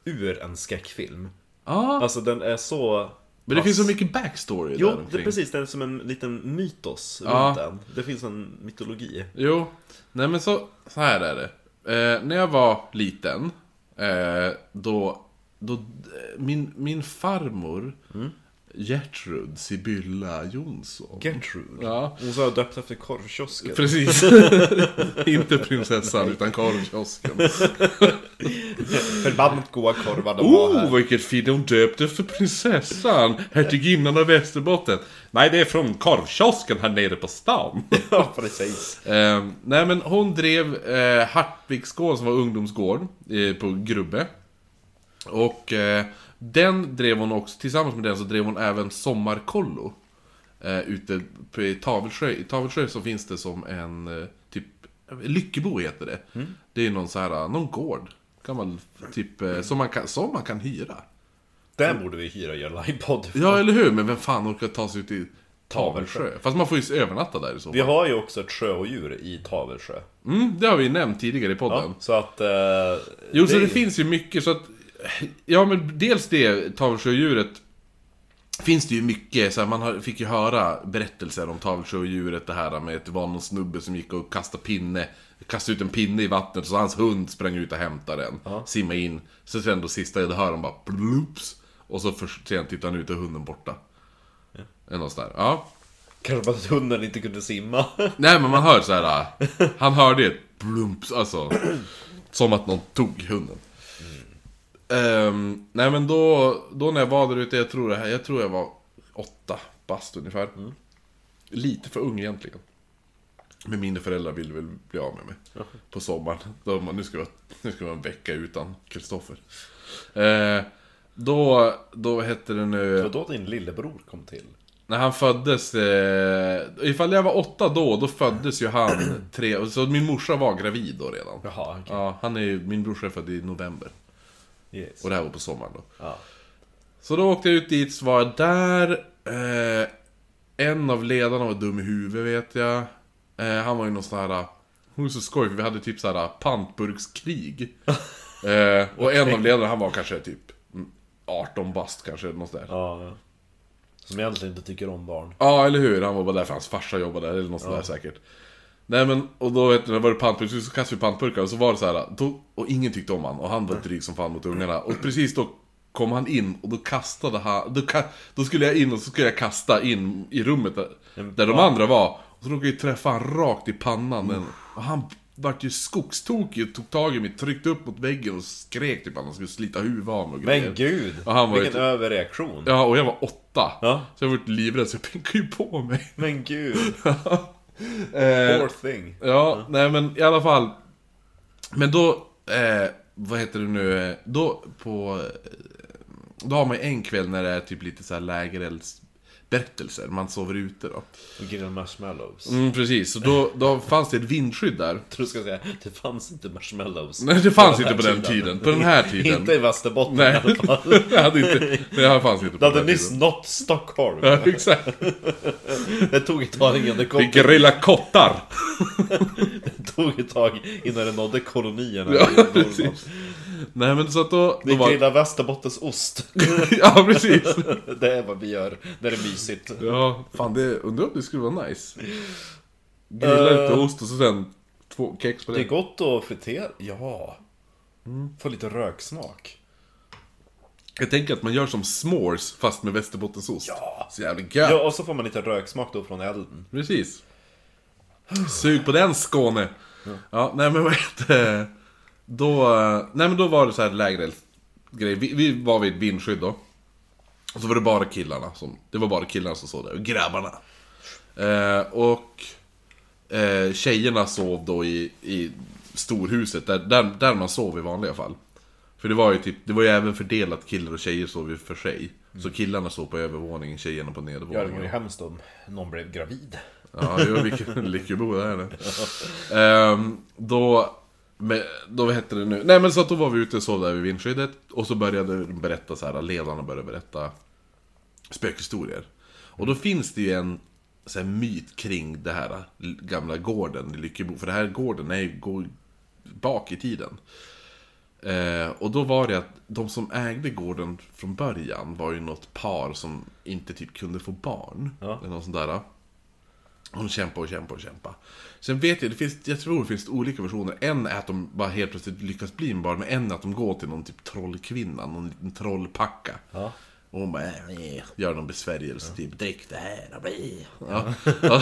Speaker 2: ur en skräckfilm.
Speaker 1: Ja.
Speaker 2: Alltså den är så...
Speaker 1: Men det finns så mycket backstory där
Speaker 2: Jo, det,
Speaker 1: omkring.
Speaker 2: precis. Det är som en liten mytos
Speaker 1: Ja.
Speaker 2: runt den. Det finns en mytologi.
Speaker 1: Jo, nej men så, så här är det. Eh, när jag var liten, eh, då, då eh, min, min farmor Gertrud Sibylla Jonsson.
Speaker 2: Gertrude.
Speaker 1: Ja,
Speaker 2: Hon sa döpt efter
Speaker 1: *laughs*
Speaker 2: korvkiosken.
Speaker 1: precis. Inte prinsessan utan korvkiosken.
Speaker 2: Förbannat goda korvar de har
Speaker 1: Oh,
Speaker 2: här.
Speaker 1: vilket fint! Hon döpte för prinsessan, hertiginnan av Västerbotten. Nej, det är från korvkiosken här nere på stan.
Speaker 2: Ja, precis.
Speaker 1: Eh, nej men hon drev eh, Hartviksgården som var ungdomsgård eh, på Grubbe. Och eh, den drev hon också, tillsammans med den så drev hon även Sommarkollo. Eh, ute på, i Tavelsjö. I Tavelsjö så finns det som en, eh, typ, Lyckebo heter det. Det är någon så här, eh, någon gård. Gammal, typ, eh, som, man kan, som man kan hyra.
Speaker 2: Där borde vi hyra och göra livepodd.
Speaker 1: Ja, eller hur? Men vem fan orkar ta sig ut i Tavelsjö?
Speaker 2: Tavelsjö.
Speaker 1: Fast man får ju övernatta där i så
Speaker 2: Vi
Speaker 1: fall.
Speaker 2: har ju också ett sjöodjur i Tavelsjö.
Speaker 1: Mm, det har vi nämnt tidigare i podden.
Speaker 2: Ja, så att... Eh,
Speaker 1: Mm. Jo, så
Speaker 2: är
Speaker 1: det
Speaker 2: ju-
Speaker 1: finns ju mycket så att... Ja, men dels det, tavelsjödjuret. Finns det ju mycket, så här, man har, fick ju höra berättelser om tavelsjödjuret det här med att det var någon snubbe som gick och kastade pinne, kastade ut en pinne i vattnet så hans hund sprang ut och hämtade den, simmade in. Så sen då sista jag hör han bara bloops, och så för sent tittar han ut och hunden borta. Eller något sånt där. Ja.
Speaker 2: Kanske bara att hunden inte kunde simma.
Speaker 1: *laughs* Nej men man hör så här. äh, han hörde ju ett blumps, alltså. Som att någon tog hunden. Ehm, nej men då, då när jag var där ute, jag tror, det här, jag tror jag var åtta bast ungefär. Lite för ung egentligen. Men mina föräldrar ville väl bli av med mig. På sommaren. Då man, nu, ska jag, nu ska jag vara en vecka utan Kristoffer. Ehm, då, då vad hette det nu...
Speaker 2: Det var då din lillebror kom till.
Speaker 1: När han föddes, eh, ifall jag var åtta då, då föddes ju han tre, och så min morsa var gravid då redan.
Speaker 2: Jaha, okej.
Speaker 1: Ja, han är ju, min brorsa är född i november.
Speaker 2: Yes.
Speaker 1: Och det här var på sommaren då.
Speaker 2: Ja.
Speaker 1: Så då åkte jag ut dit, så var jag där. Eh, en av ledarna var dum i huvudet vet jag. Eh, han var ju någon sån här... Det var så skoj för vi hade typ så här pantburkskrig. eh, och en av ledarna han var kanske typ mm, 18 bast kanske, något sånt där.
Speaker 2: Ja, ja. Som egentligen inte tycker om barn.
Speaker 1: Ja, eller hur? Han var bara där för hans farsa jobbade där, eller något sånt där säkert. Nej men, och då vet du, när det var det pantburkar, så kastade vi pantburkar och så var det så här, då, och ingen tyckte om han och han var dryg som fan mot ungarna. Och precis då kom han in och då kastade han, då, ka- då skulle jag in och så skulle jag kasta in i rummet där,
Speaker 2: En-
Speaker 1: där de
Speaker 2: ja. Mm.
Speaker 1: andra var. Och så råkade jag ju träffa han rakt i pannan. Men, och han vart ju skogstokig och tog tag i mig, tryckte upp mot väggen och skrek typ att han skulle slita huvudet av mig och grejer.
Speaker 2: Men gud!
Speaker 1: Ja, han var ju
Speaker 2: vilken
Speaker 1: typ-
Speaker 2: överreaktion.
Speaker 1: Ja, och jag var åtta.
Speaker 2: Ja.
Speaker 1: Så jag vart livrädd så jag pinkade ju på mig. *laughs*
Speaker 2: Men gud!
Speaker 1: Eh,
Speaker 2: Poor thing.
Speaker 1: Ja, nej men i alla fall. Men då, eh, vad heter det nu, eh, då på... eh, Då har man ju en kväll när det är typ lite så här lägereldsberättelser, man sover ute då.
Speaker 2: Och grillade marshmallows.
Speaker 1: Mm, precis, så då, då fanns det ett vindskydd där.
Speaker 2: Jag tror du ska säga, det fanns inte marshmallows.
Speaker 1: Nej, *laughs* det fanns
Speaker 2: här
Speaker 1: inte på den tiden. På den *laughs* här tiden.
Speaker 2: inte i Västerbotten
Speaker 1: Nej. *laughs*
Speaker 2: i alla fall.
Speaker 1: Det hade inte, det här fanns inte på
Speaker 2: *laughs* Det hade
Speaker 1: den här
Speaker 2: nyss
Speaker 1: tiden.
Speaker 2: nått Stockholm.
Speaker 1: Ja, exakt. *laughs*
Speaker 2: Det tog ett tag innan det kom
Speaker 1: Vi
Speaker 2: *laughs*
Speaker 1: grillar kottar.
Speaker 2: Det tog ett tag innan det nådde kolonierna
Speaker 1: Ja,
Speaker 2: i Norrland.
Speaker 1: precis. *laughs* Nej men så att då... då
Speaker 2: Vi
Speaker 1: var...
Speaker 2: grillar västerbottensost.
Speaker 1: *laughs* ja precis.
Speaker 2: *laughs* det är vad vi gör när det är mysigt.
Speaker 1: Ja, fan det... Undrar om det skulle vara nice. Grilla lite
Speaker 2: Eh.
Speaker 1: ost och så sen två kex på
Speaker 2: Det är
Speaker 1: det.
Speaker 2: gott att fritera. Ja. Mm. Få lite röksmak.
Speaker 1: Jag tänker att man gör som s'mores fast med västerbottensost.
Speaker 2: Ja.
Speaker 1: Så jävla gött.
Speaker 2: Ja, och så får man lite röksmak då från elden.
Speaker 1: Precis. Sug på den Skåne! Ja, nej men vad heter det? då, eh, nej men då var det så här lägre grej. Vi, vi var vid ett vindskydd då. Och så var det bara killarna som, det var bara killarna som såg där, och grabbarna. Eh, och eh, tjejerna sov då i, i storhuset, där, där, där man sov i vanliga fall. För det var ju typ, det var ju även fördelat, killar och tjejer sov ju för sig. Så killarna sov på övervåningen, tjejerna på
Speaker 2: Ja, det
Speaker 1: nedervåningen.
Speaker 2: vore ju hemskt om någon blev gravid.
Speaker 1: Ja, jo, vilken lyckebo *laughs* det är nu. Ehm, då, men, då, vad hette det nu? Nej men så att då var vi ute och sov där vid vindskyddet. Och så började de berätta så här, ledarna började berätta spökhistorier. Och då finns det ju en så här, myt kring det här gamla gården i Lyckebo. För det här gården är ju, går bak i tiden. Eh, och då var det att de som ägde gården från början var ju något par som inte typ kunde få barn.
Speaker 2: Ja.
Speaker 1: Eller något sånt där. Hon kämpar och kämpar och kämpar. Sen vet jag, det finns, jag tror det finns olika versioner. En är att de bara helt plötsligt lyckas bli en barn, men en är att de går till någon typ trollkvinna, någon liten trollpacka.
Speaker 2: Ja.
Speaker 1: Och hon bara, "Äh, äh", gör någon besvärjelse, typ drick det här. och bli." Ja. Ja.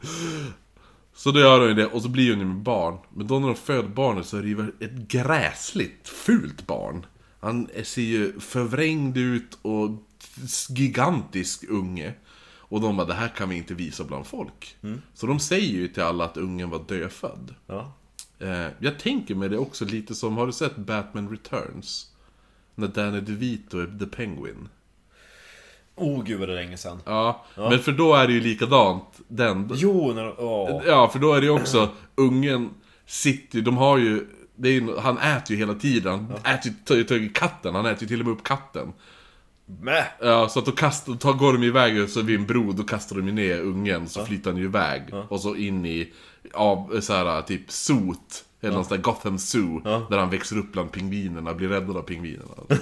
Speaker 1: *laughs* så då gör hon ju det, och så blir hon ju med barn. Men då när de föder barnet så är det ju ett gräsligt, fult barn. Han ser ju förvrängd ut och gigantisk unge. Och de bara, det här kan vi inte visa bland folk. Så de säger ju till alla att ungen var dödfödd.
Speaker 2: Ja.
Speaker 1: Eh, jag tänker mig det också lite som, har du sett Batman Returns? När Danny DeVito är The Penguin.
Speaker 2: Oh gud vad det är länge sedan.
Speaker 1: Ja, men för då är det ju likadant. Den,
Speaker 2: Jo, när... Åh.
Speaker 1: Ja, för då är det ju också ungen sitter ju- de har ju, det är ju, han äter ju hela tiden. Han äter ju tar ju tag i katten, han äter ju till och med upp katten.
Speaker 2: Mäh!
Speaker 1: Ja, så att då kastar, tar, går de iväg så vid en bro, då kastar de ju ner ungen, så flyttar han ju iväg. Och så in i, av, så här, typ sot. Eller någon sån där Gotham Zoo, där han växer upp bland pingvinerna, blir räddad av pingvinerna. Ja,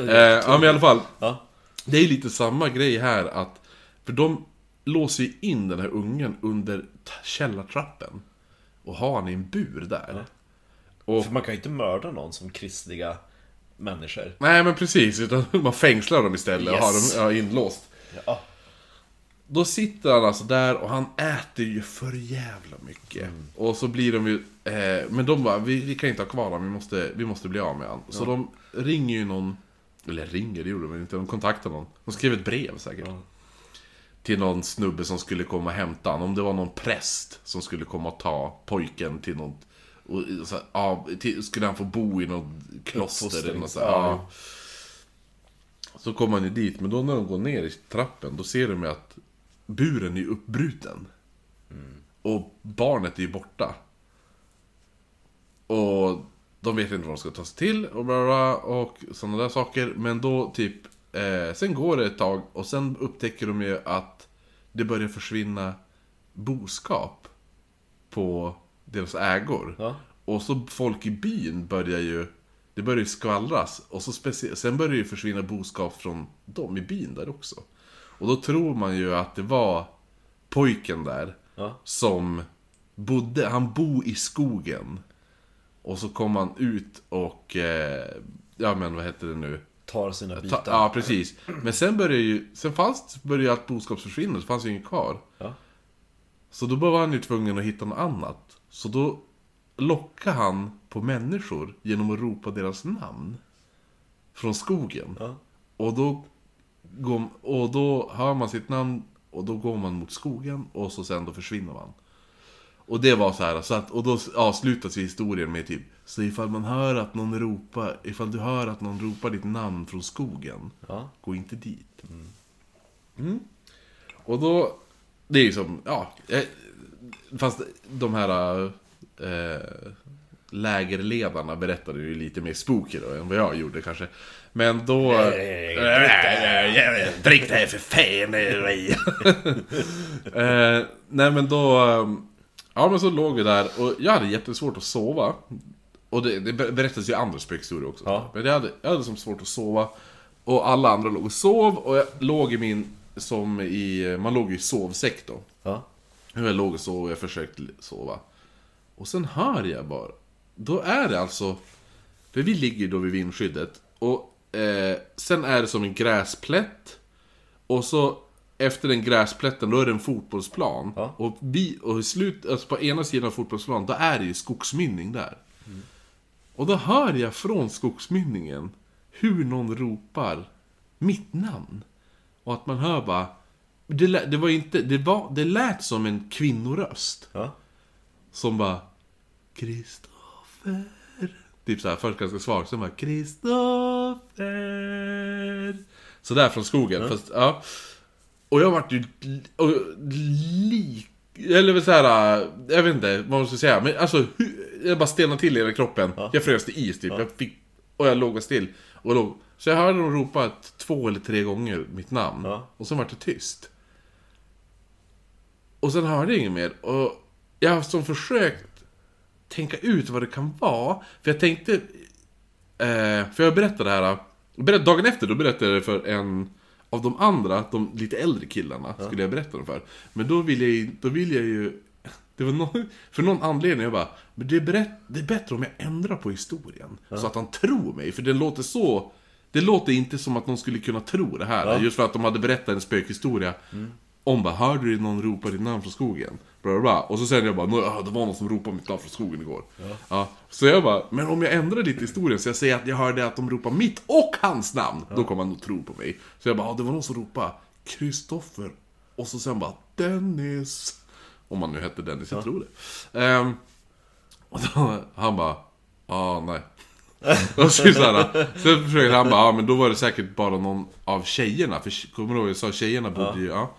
Speaker 1: eh, ja men i alla fall.
Speaker 2: Ja.
Speaker 1: Det är lite samma grej här att, för de låser ju in den här ungen under t- källartrappen. Och har han i en bur där.
Speaker 2: För man kan ju inte mörda någon som kristliga människor.
Speaker 1: Nej men precis, utan *laughs* man fängslar dem istället och har dem
Speaker 2: Yes.
Speaker 1: ja, inlåst.
Speaker 2: Ja.
Speaker 1: Då sitter han alltså där och han äter ju för jävla mycket. Och så blir de ju... Eh, men de bara, vi, vi kan inte ha kvar honom, vi måste, vi måste bli av med honom. Så de ringer ju någon... Eller ringer, det gjorde de inte, de kontaktar någon. De skrev ett brev säkert. Till någon snubbe som skulle komma och hämta honom. Om det var någon präst som skulle komma och ta pojken till något... Och, så, här, ja, till, skulle han få bo i något kloster eller något så, här,
Speaker 2: Ja.
Speaker 1: ja. Så kommer han ju dit, men då när de går ner i trappen, då ser de ju att buren är uppbruten. Och barnet är ju borta. Och de vet inte vad de ska ta sig till och, bla bla bla, och sådana där saker. Men då typ, eh, sen går det ett tag och sen upptäcker de ju att det börjar försvinna boskap på deras ägor.
Speaker 2: Ja.
Speaker 1: Och så folk i byn börjar ju, det börjar ju skvallras. Och så specie- sen börjar det ju försvinna boskap från dem i byn där också. Och då tror man ju att det var pojken där
Speaker 2: Ja.
Speaker 1: som bodde, han bor i skogen. Och så kom han ut och, eh, ja men vad heter det nu?
Speaker 2: Tar sina
Speaker 1: Ta,
Speaker 2: bitar.
Speaker 1: ja, precis. Men sen började ju, sen fanns, började ju allt boskap försvinna, det fanns ju inget kvar.
Speaker 2: Ja.
Speaker 1: Så då var han ju tvungen att hitta något annat. Så då lockade han på människor genom att ropa deras namn. Från skogen.
Speaker 2: Ja.
Speaker 1: Och då, går, och då hör man sitt namn och då går man mot skogen och så sen då försvinner man. Och det var så här, så att, och då avslutas ju historien med typ Så ifall man hör att någon ropar, ifall du hör att någon ropar ditt namn från skogen
Speaker 2: Ja.
Speaker 1: Gå inte dit mm. Och då, det är ju som, ja eh, Fast de här eh, lägerledarna berättade ju lite mer spooky då än vad jag gjorde kanske Men då...
Speaker 2: nej,
Speaker 1: Äh. Drick det här för fan! nej. eh, ehm, nej men då... eh, Ja men så låg vi där och jag hade jättesvårt att sova. Och det, det ber- berättas ju andra spökhistorier också.
Speaker 2: Ja.
Speaker 1: Men jag hade, jag hade som svårt att sova. Och alla andra låg och sov. Och jag låg i min, som i, man låg ju i sovsäck då.
Speaker 2: Ja.
Speaker 1: Hur jag låg och sov, jag försökte sova. Och sen hör jag bara. Då är det alltså... För vi ligger ju då vid vindskyddet. Och eh, sen är det som en gräsplätt. Och så efter den gräsplätten, då är det en fotbollsplan.
Speaker 2: Ja.
Speaker 1: Och, vi, och i slut, alltså på ena sidan av fotbollsplanen, då är det ju skogsmynning där. Och då hör jag från skogsmynningen hur någon ropar mitt namn. Och att man hör bara... Det, lä- det var inte... Det, var, det lät som en kvinnoröst.
Speaker 2: Ja.
Speaker 1: Som bara... Kristoffer. Typ såhär, först ganska svagt, sen bara Kristoffer. Sådär från skogen, fast ja. Och jag vart ju... li- Och, lik... Eller väl såhär, äh, jag vet inte vad man ska säga, men alltså hu- jag bara stelnade till i hela kroppen.
Speaker 2: Ja.
Speaker 1: Jag frös till is typ, jag fick, och jag låg och still. Och låg. Så jag hörde dem ropa ett, två eller tre gånger mitt namn,
Speaker 2: Ja.
Speaker 1: och sen vart det tyst. Och sen hörde jag inget mer. Och jag har som försökt tänka ut vad det kan vara. För jag tänkte... Eh, för jag berättade det här... Berätt, dagen efter då berättade jag det för en av de andra, de lite äldre killarna, skulle jag berätta dem för. Men då ville jag ju... Då ville jag ju *laughs* det var någon, för någon anledning, jag bara, men det är, berätt, det är bättre om jag ändrar på historien. Så att han tror mig, för den låter så... Det låter inte som att någon skulle kunna tro det här. Just för att de hade berättat en spökhistoria. Om bara, hörde du någon ropa ditt namn från skogen? Bla, bla, bla. Och så säger jag bara, "Nå, ja, det var någon som ropade mitt namn från skogen igår. Ja. Så jag bara, men om jag ändrar lite historien så jag säger att jag hörde att de ropade mitt och hans namn. Då kommer han nog tro på mig. Så jag bara, ja, det var någon som ropade Kristoffer. Och så sen bara, Dennis. Om man nu hette Dennis, jag tror det. Ehm, och då, han bara, ah nej. Och så, så, här, så försöker han bara, ah, men då var det säkert bara någon av tjejerna. För kommer du ihåg, jag sa tjejerna bodde ju, ja.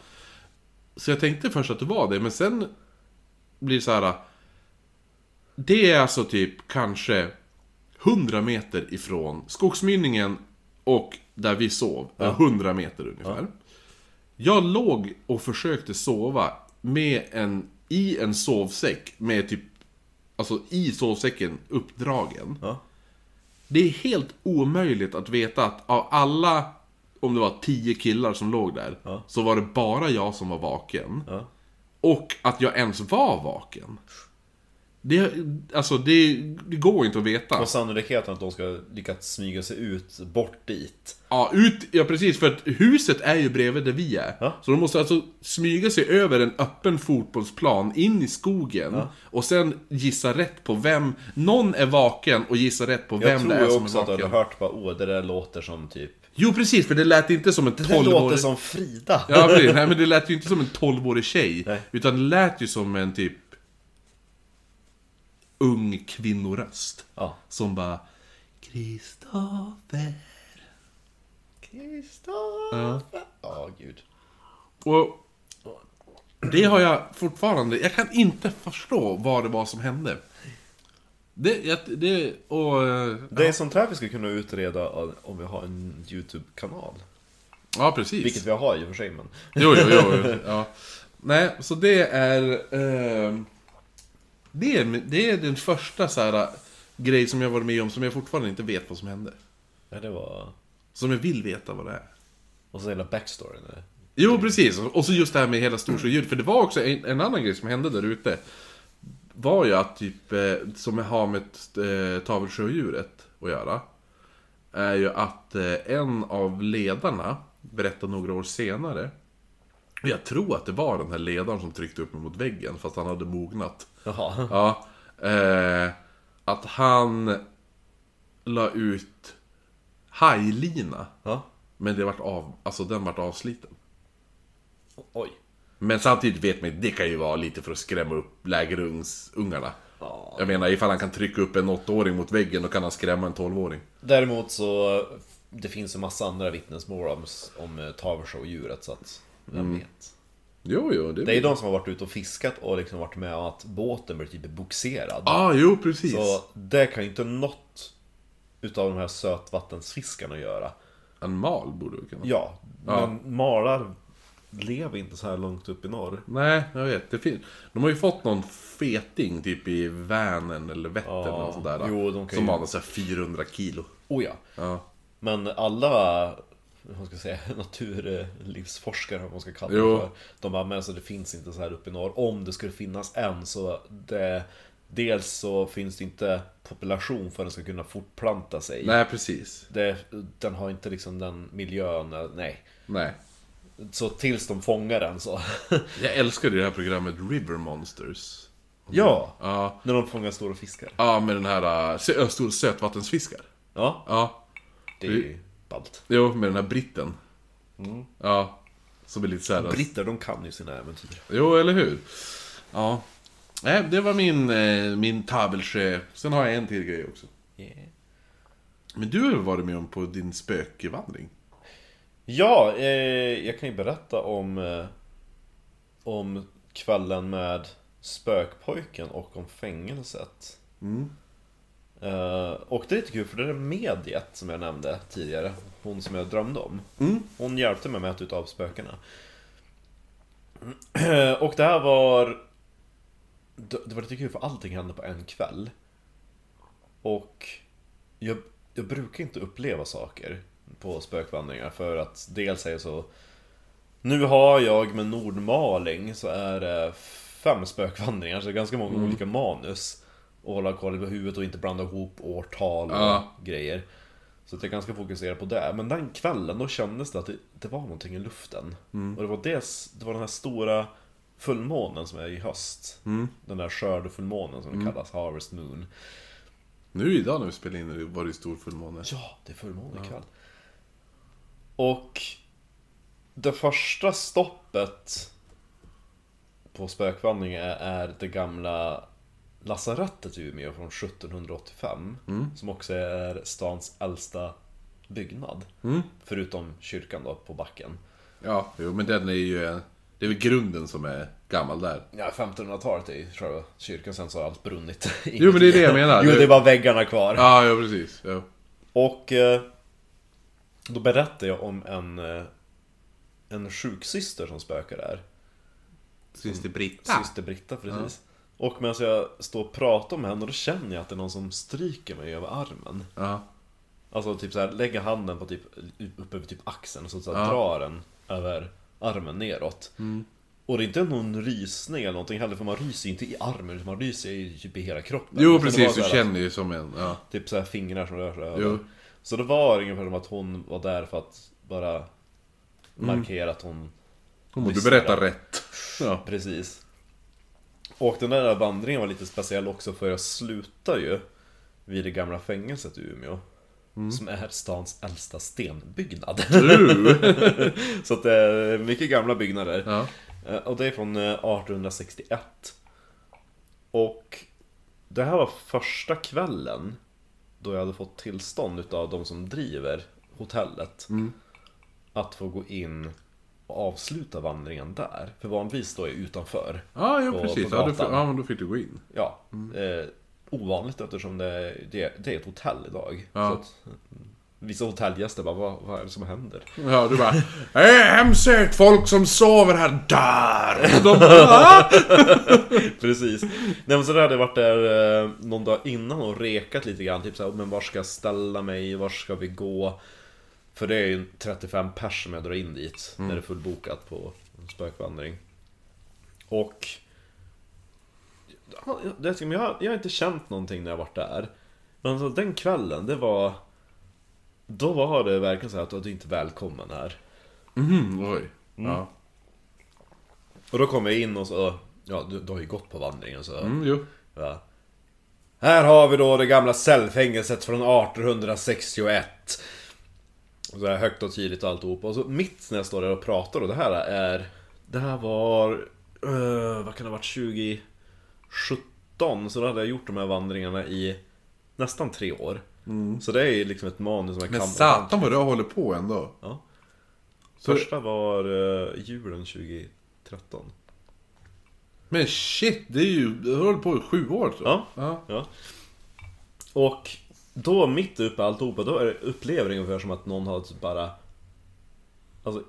Speaker 1: Så jag tänkte först att det var det, men sen blir det så här. Det är alltså typ kanske 100 meter ifrån skogsmynningen och där vi sov. 100 meter ungefär. Jag låg och försökte sova med en, i en sovsäck med typ, alltså i sovsäcken uppdragen.
Speaker 2: Ja.
Speaker 1: Det är helt omöjligt att veta att av alla, om det var 10 killar som låg där,
Speaker 2: Ja.
Speaker 1: så var det bara jag som var vaken.
Speaker 2: Ja.
Speaker 1: Och att jag ens var vaken. Det, alltså det, det går inte att veta.
Speaker 2: Och sannolikheten att de ska lyckats smyga sig ut bort dit.
Speaker 1: Ja, ut, ja precis, för att huset är ju bredvid där vi är.
Speaker 2: Ja.
Speaker 1: Så de måste alltså smyga sig över en öppen fotbollsplan, in i skogen. Och sen gissa rätt på vem, någon är vaken och gissa rätt på
Speaker 2: Jag
Speaker 1: vem
Speaker 2: tror
Speaker 1: det är
Speaker 2: ju
Speaker 1: som
Speaker 2: också
Speaker 1: är
Speaker 2: att du hade
Speaker 1: vaken.
Speaker 2: hört bara åh, det där låter som typ...
Speaker 1: Jo precis, för det lät inte som en
Speaker 2: Det låter
Speaker 1: 12-årig...
Speaker 2: som Frida!
Speaker 1: Ja precis, nej men det lät ju inte som en 12-årig tjej.
Speaker 2: Nej.
Speaker 1: Utan det lät ju som en typ... Ung kvinnoröst.
Speaker 2: Ja.
Speaker 1: Som bara... Kristoffer.
Speaker 2: Kristoffer! Ja, gud.
Speaker 1: Och det har jag fortfarande... Jag kan inte förstå vad det var som hände. Det, jag- det, och... eh,
Speaker 2: Det är sånt här vi skulle kunna utreda om vi har en YouTube-kanal.
Speaker 1: Ja, precis.
Speaker 2: Vilket vi har i och för sig, men...
Speaker 1: Jo, jo, jo. jo, ja. Nej, så det är... ehm, det, är det är den första så här grej som jag varit med om som jag fortfarande inte vet vad som hände.
Speaker 2: Ja, det var...
Speaker 1: Som jag vill veta vad det är.
Speaker 2: Och så hela backstoryn. där.
Speaker 1: Jo, precis. Och så just det här med hela Storsjöljud. För det var också en, en annan grej som hände där ute. Var ju att typ, eh, som har med eh, tavelsjödjuret att göra. Är ju att eh, en av ledarna berättade några år senare. och Jag tror att det var den här ledaren som tryckte upp mig mot väggen fast han hade mognat.
Speaker 2: Jaha.
Speaker 1: Ja. Eh, att han la ut hajlina.
Speaker 2: Ja.
Speaker 1: Men det vart av, alltså den vart avsliten.
Speaker 2: Oj.
Speaker 1: Men samtidigt vet man det kan ju vara lite för att skrämma upp lägerungsungarna.
Speaker 2: Ja.
Speaker 1: Jag menar, ifall han kan trycka upp en 8-åring mot väggen, då kan han skrämma en 12-åring.
Speaker 2: Däremot så, det finns ju massa andra vittnesmål om, om eh, tavershow-djuret så att, vem vet?
Speaker 1: Jo, jo, det...
Speaker 2: Det är ju de som har varit ute och fiskat och liksom varit med om att båten blir typ bogserad.
Speaker 1: Ah, jo, precis.
Speaker 2: så det kan ju inte något utav de här sötvattensfiskarna göra.
Speaker 1: En mal borde vi kunna...
Speaker 2: Ja,
Speaker 1: Ja.
Speaker 2: men malar lever inte så här långt upp i norr.
Speaker 1: Nej, jag vet. Det finns. De har ju fått någon feting typ i Vänern eller Vättern
Speaker 2: Ja,
Speaker 1: eller sånt där.
Speaker 2: jo, de kan
Speaker 1: som
Speaker 2: ju-
Speaker 1: hade så här 400 kilo.
Speaker 2: Oh ja.
Speaker 1: Ja.
Speaker 2: Men alla vad ska jag säga, *laughs* naturlivsforskare, vad man ska kalla
Speaker 1: Jo.
Speaker 2: det för. De bara, men alltså det finns inte så här uppe i norr. Om det skulle finnas en så det, Dels så finns det inte population för att den ska kunna fortplanta sig.
Speaker 1: Nej, precis.
Speaker 2: Det, den har inte liksom den miljön, nej.
Speaker 1: Nej.
Speaker 2: Så tills de fångar den så. *laughs*
Speaker 1: Jag älskade det här programmet River Monsters.
Speaker 2: ja!
Speaker 1: Ja,
Speaker 2: När de fångar stora fiskar.
Speaker 1: ja med den här äh, sö- ö, stor sötvattensfiskar.
Speaker 2: Ja,
Speaker 1: Ja,
Speaker 2: det är ju ballt.
Speaker 1: jo, med den här britten.
Speaker 2: Mm.
Speaker 1: Ja, som är lite så här...
Speaker 2: Britter, de kan ju sina äventyr.
Speaker 1: Jo, eller hur? Ja. Nej, det var min, eh, min tavelsjö. Sen har jag en till grej också. Men du har ju varit med om på din spökvandring.
Speaker 2: Ja, eh, jag kan ju berätta om, eh, om kvällen med spökpojken och om fängelset. Eh, och det är lite kul för det är mediet som jag nämnde tidigare. Hon som jag drömde om. Hon hjälpte mig med att utav spökena. Eh, och det här var... Det det var lite kul för allting hände på en kväll. Och jag, jag brukar inte uppleva saker på spökvandringar för att dels är jag så... Nu har jag med Nordmaling så är det fem spökvandringar, så det är ganska många olika manus. Och hålla koll på huvudet och inte blanda ihop årtal och
Speaker 1: Ja.
Speaker 2: grejer. Så att jag är ganska fokuserad på det. Men den kvällen då kändes det att det, det var någonting i luften. Och det var dels, det var den här stora fullmånen som är i höst. Den där skördefullmånen som det kallas, Harvest Moon.
Speaker 1: Nu idag när vi spelar in det var det ju stor fullmåne.
Speaker 2: Ja, det är fullmåne ikväll. Och det första stoppet på spökvandring är, är det gamla lasarettet i Umeå från 1785.
Speaker 1: Mm.
Speaker 2: Som också är stans äldsta byggnad.
Speaker 1: Mm.
Speaker 2: Förutom kyrkan då på backen.
Speaker 1: Ja, jo, men den är ju... eh, Det är väl grunden som är gammal där.
Speaker 2: Ja, 1500-talet är ju själva kyrkan, sen så har allt brunnit. *laughs*
Speaker 1: Jo, men det är det jag menar.
Speaker 2: Jo,
Speaker 1: Det-
Speaker 2: det är bara väggarna kvar.
Speaker 1: Ja, ja precis. Ja.
Speaker 2: Och eh, då berättade jag om en, eh, en sjuksyster som spökar där.
Speaker 1: Syster Britta.
Speaker 2: Syster Britta, precis. Och medan jag står och pratar med henne, då känner jag att det är någon som stryker mig över armen.
Speaker 1: Ja.
Speaker 2: Alltså typ så här, lägger handen på typ, upp över typ axeln och så, så här, drar den över armen neråt.
Speaker 1: Mm.
Speaker 2: Och det är inte någon rysning eller någonting heller, för man ryser ju inte i armen, utan man ryser ju typ i hela kroppen.
Speaker 1: Jo,
Speaker 2: Utan det var
Speaker 1: precis.
Speaker 2: så
Speaker 1: Du
Speaker 2: här-
Speaker 1: känner ju som en... Ja.
Speaker 2: Typ så här fingrar som rör sig
Speaker 1: Jo.
Speaker 2: över. Så det var ungefär som att hon var där för att bara markera att hon...
Speaker 1: Om du
Speaker 2: lyssnade.
Speaker 1: berättar
Speaker 2: *laughs*
Speaker 1: rätt. Ja.
Speaker 2: Precis. Och den där vandringen var lite speciell också för jag slutar ju vid det gamla fängelset i Umeå. Som är stans äldsta stenbyggnad.
Speaker 1: Mm. Du!
Speaker 2: *laughs* så att det är mycket gamla byggnader.
Speaker 1: Ja.
Speaker 2: Eh, Och det är från eh, 1861. Och det här var första kvällen då jag hade fått tillstånd utav de som driver hotellet
Speaker 1: Mm.
Speaker 2: att få gå in och avsluta vandringen där. För vanligtvis står jag utanför.
Speaker 1: Ja, Mm. jo,
Speaker 2: På-
Speaker 1: precis.
Speaker 2: på
Speaker 1: Ja, du,
Speaker 2: gatan.
Speaker 1: ja, men då fick du gå in.
Speaker 2: Ja, eh, ovanligt eftersom det, det, det är ett hotell idag.
Speaker 1: Ja.
Speaker 2: Så att, mm, vissa hotellgäster bara, vad, vad är det som händer?
Speaker 1: Ja, du bara "Eh, hemsökt folk som sover här där! De bara, "Ah!"
Speaker 2: *laughs* Precis. Nej men så där hade jag varit där eh, någon dag innan och rekat lite grann. Typ såhär, men var ska jag ställa mig? Var ska vi gå? För det är ju 35 pers som jag drar in dit när det är fullbokat på spökvandring. Och... Ja, jag- det- men Jag, jag har inte känt någonting när jag varit där. Men alltså, den kvällen, det var... Då var det verkligen så här att du är inte välkommen här.
Speaker 1: Mhm, oj. Ja.
Speaker 2: Och då kom jag in och så... Ja, du, du har ju gått på vandringen så...
Speaker 1: Mm, jo.
Speaker 2: Va? Här har vi då det gamla cellfängelset från 1861. Och Så här högt och tydligt och alltihop. Och så mitt när jag står där och pratar och det här är... Det här var... eh, vad kan det ha varit? 2017. Så då hade jag gjort de här vandringarna i nästan tre år. Så det är ju liksom ett manus som jag
Speaker 1: Men
Speaker 2: kan.
Speaker 1: satan vad du håller på ändå.
Speaker 2: Ja.
Speaker 1: Så,
Speaker 2: Första var eh, julen 2013.
Speaker 1: men shit, det är ju... Du har hållit på i sju år så.
Speaker 2: Ja.
Speaker 1: Ja.
Speaker 2: Ja. Och då mitt uppe i alltihopa, då är det- upplever jag ungefär som att någon har typ bara... Alltså...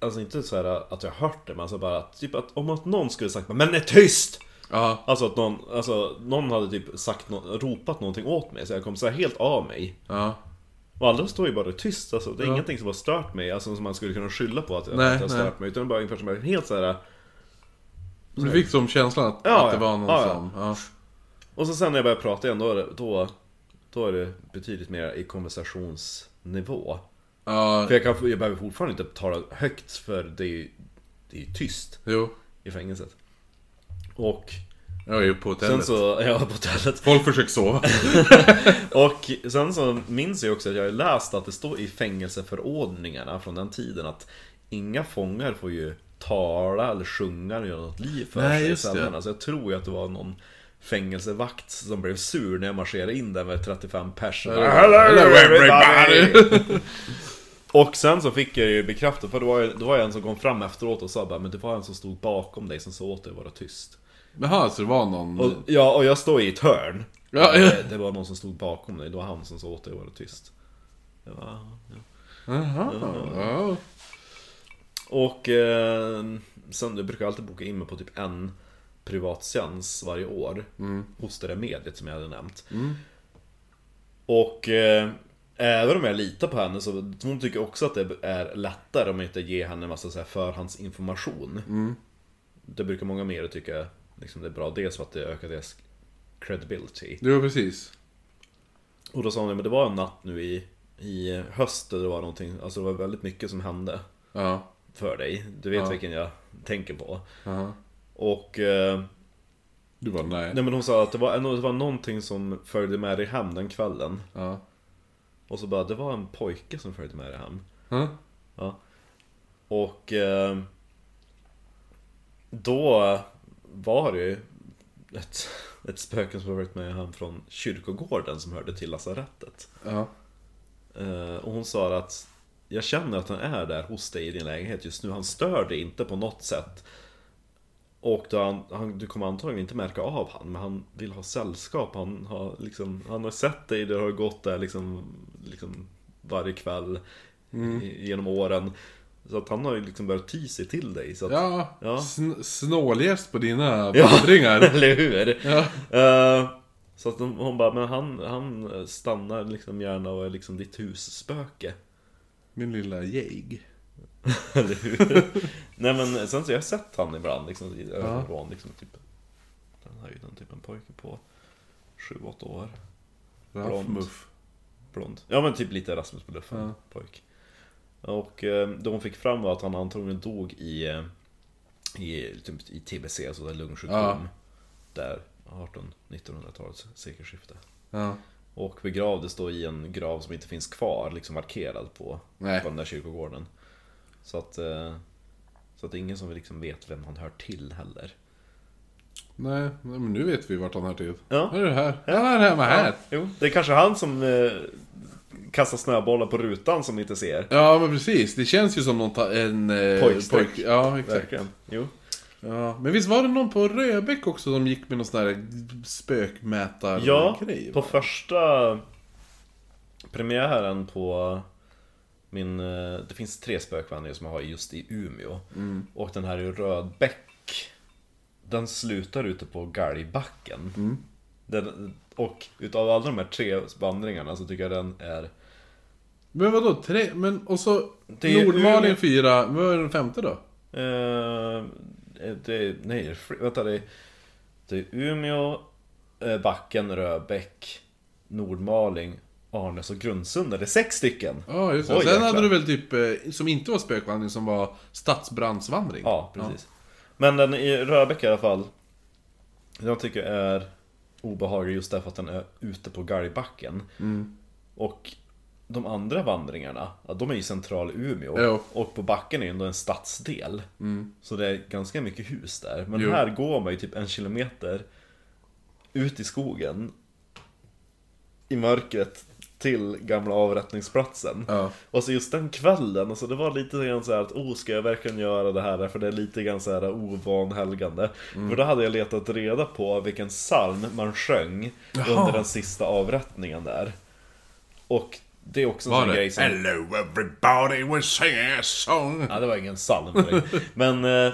Speaker 2: Alltså inte så här att jag har hört det, men alltså bara att, typ att om att någon skulle sagt bara, Men är tyst!
Speaker 1: Ja,
Speaker 2: Alltså att någon, alltså, någon hade typ sagt no- ropat någonting åt mig så jag kom så här helt av mig
Speaker 1: ja.
Speaker 2: Och alla står ju bara tyst alltså, det är
Speaker 1: Ja.
Speaker 2: ingenting som har stört mig Alltså som man skulle kunna skylla på att,
Speaker 1: Nej,
Speaker 2: att jag har
Speaker 1: nej.
Speaker 2: stört mig Utan bara ungefär som en helt så här.
Speaker 1: Du fick som känslan att,
Speaker 2: Ja,
Speaker 1: att det var
Speaker 2: ja.
Speaker 1: någon
Speaker 2: Ja, ja.
Speaker 1: som... Ja.
Speaker 2: Och så sen när jag börjar prata igen då är det, då, då är det betydligt mer i konversationsnivå
Speaker 1: Ja,
Speaker 2: För jag, kan, jag behöver fortfarande inte tala högt för det är ju, det är ju tyst
Speaker 1: jo.
Speaker 2: i fängelset Och
Speaker 1: Jag är ju på
Speaker 2: sen
Speaker 1: hotellet.
Speaker 2: så, *laughs* ja på hotellet
Speaker 1: Folk försöker *laughs* sova.
Speaker 2: Och sen så minns jag också att jag har läst att det står i fängelseförordningarna från den tiden att inga fångar får ju tala eller sjunga eller göra något liv för
Speaker 1: Nej,
Speaker 2: sig i
Speaker 1: just det.
Speaker 2: cellerna. Så jag tror ju att det var någon fängelsevakt som blev sur när jag marscherade in där med 35 personer.
Speaker 1: Hello, everybody! *laughs*
Speaker 2: Och sen så fick jag ju bekräftat, för det var ju, det var ju en som kom fram efteråt och sa bara Men det var en som stod bakom dig som sa åt dig att vara tyst.
Speaker 1: Jaha, så det var någon...
Speaker 2: Och, ja, och jag står i ett hörn.
Speaker 1: Ja, ja.
Speaker 2: Eh, Det, det var någon som stod bakom dig, det var han som sa åt dig att vara tyst. Det var,
Speaker 1: Jaha. Ja.
Speaker 2: och eh, sen, jag brukar alltid boka in mig på typ en privatseans varje år. Hos det där mediet som jag hade nämnt. Och eh, även om jag litar på henne så hon tycker också att det är lättare om jag inte ger henne en massa så här förhandsinformation. Det brukar många medier tycka liksom, det är bra. Dels för att det ökar deras credibility.
Speaker 1: Jo, precis.
Speaker 2: Och då sa hon, men det var en natt nu i, i höst där det var någonting, alltså det var väldigt mycket som hände
Speaker 1: Ja.
Speaker 2: för dig. Du vet
Speaker 1: Ja.
Speaker 2: vilken jag tänker på.
Speaker 1: Aha.
Speaker 2: Och eh,
Speaker 1: Du bara nej.
Speaker 2: nej, men hon sa att det var, det var någonting som följde med dig hem den kvällen.
Speaker 1: Ja.
Speaker 2: Och så bara, det var en pojke som följde med dig hem.
Speaker 1: Ja.
Speaker 2: Ja. Och eh, då var det ju ett, ett spöke som följt med hem från kyrkogården som hörde till lasarettet.
Speaker 1: Ja.
Speaker 2: Eh, Och hon sa att jag känner att han är där hos dig i din lägenhet just nu. Han stör dig inte på något sätt. Och då han, han, du kommer antagligen inte märka av han, men han vill ha sällskap. Han har, liksom, han har sett dig, du har gått där liksom, liksom varje kväll
Speaker 1: Mm.
Speaker 2: i, genom åren. Så att han har ju liksom börjat ty sig till dig. Så att,
Speaker 1: ja.
Speaker 2: Ja.
Speaker 1: Sn- snåljäst på dina
Speaker 2: Ja.
Speaker 1: vandringar.
Speaker 2: *laughs* Eller hur?
Speaker 1: Ja.
Speaker 2: Eh, så att hon, hon bara, men han, han stannar liksom gärna och är liksom ditt husspöke.
Speaker 1: Min lilla jäg.
Speaker 2: *laughs* Eller hur? Nej men sen så har jag sett han ibland liksom i ögonvrån liksom typ Den höjden, typ en pojke på 7-8 år
Speaker 1: Ralf
Speaker 2: Blond.
Speaker 1: Muff.
Speaker 2: Blond Ja men typ lite Rasmus på luffen
Speaker 1: Ja.
Speaker 2: pojk Och eh, det hon fick fram var att han antagligen dog i eh, I, typ, i TBC, alltså där lungsjukdom
Speaker 1: Ja.
Speaker 2: Där 18-1900-talets sekelskifte
Speaker 1: Ja.
Speaker 2: Och begravdes då i en grav som inte finns kvar, liksom markerad på,
Speaker 1: Nej.
Speaker 2: på den där kyrkogården. Så att, eh, så att det är ingen som liksom vet vem han hör till heller.
Speaker 1: Nej, nej, men nu vet vi vart han hör till.
Speaker 2: Ja.
Speaker 1: Här är du här. Ja, här är hemma här.
Speaker 2: jo. Det är kanske han som eh, kastar snöbollar på rutan som inte ser.
Speaker 1: Ja, men precis. Det känns ju som någon ta- en... eh,
Speaker 2: Pojkstreck.
Speaker 1: Ja, exakt.
Speaker 2: Verkligen. Jo.
Speaker 1: Ja. Men visst var det någon på Röbäck också som gick med någon sån här spökmätargrej?
Speaker 2: Ja, på
Speaker 1: va?
Speaker 2: första premiären på min... eh, Det finns tre spökvandringar som jag har just i Umeå. Och den här i Rödbäck. Den slutar ute på Galgbacken. Den, och utav alla de här tre vandringarna så tycker jag den är...
Speaker 1: Men vadå, tre? Men och så...
Speaker 2: Det är
Speaker 1: Nordmalin
Speaker 2: Umeå. fyra.
Speaker 1: fyra, vad är den femte då?
Speaker 2: Eh, det är, nej, det är fri- vänta det är, det är Umeå, eh, Backen, Röbäck, Nordmaling, Arnäs och Grundsunda. Det är sex stycken!
Speaker 1: Ja, just det.
Speaker 2: Oj,
Speaker 1: Sen
Speaker 2: jäklar.
Speaker 1: hade du väl typ, eh, som inte var spökvandring, som var stadsbrandsvandring?
Speaker 2: Ja, precis. Men den i Röbäck i alla fall, jag tycker är obehaglig just därför att den är ute på Galgbacken.
Speaker 1: Mm.
Speaker 2: Och de andra vandringarna, ja, de är i central Umeå.
Speaker 1: Jo. Mm.
Speaker 2: Och på backen är ju ändå en stadsdel. Så det är ganska mycket hus där. Men
Speaker 1: Jo.
Speaker 2: här går man ju typ en kilometer ut i skogen, i mörkret, till gamla avrättningsplatsen.
Speaker 1: Ja.
Speaker 2: Och så just den kvällen, alltså det var lite grann så här att oh, ska jag verkligen göra det här? För det är lite grann så här ovanhelgande.
Speaker 1: Mm.
Speaker 2: För då hade jag letat reda på vilken psalm man sjöng
Speaker 1: Jaha.
Speaker 2: under den sista avrättningen där. Och Det är också en
Speaker 1: Var
Speaker 2: sån
Speaker 1: det?
Speaker 2: grej som...
Speaker 1: Hello everybody, we're singing a song.
Speaker 2: Ja, det var ingen psalm direkt. Men... Eh,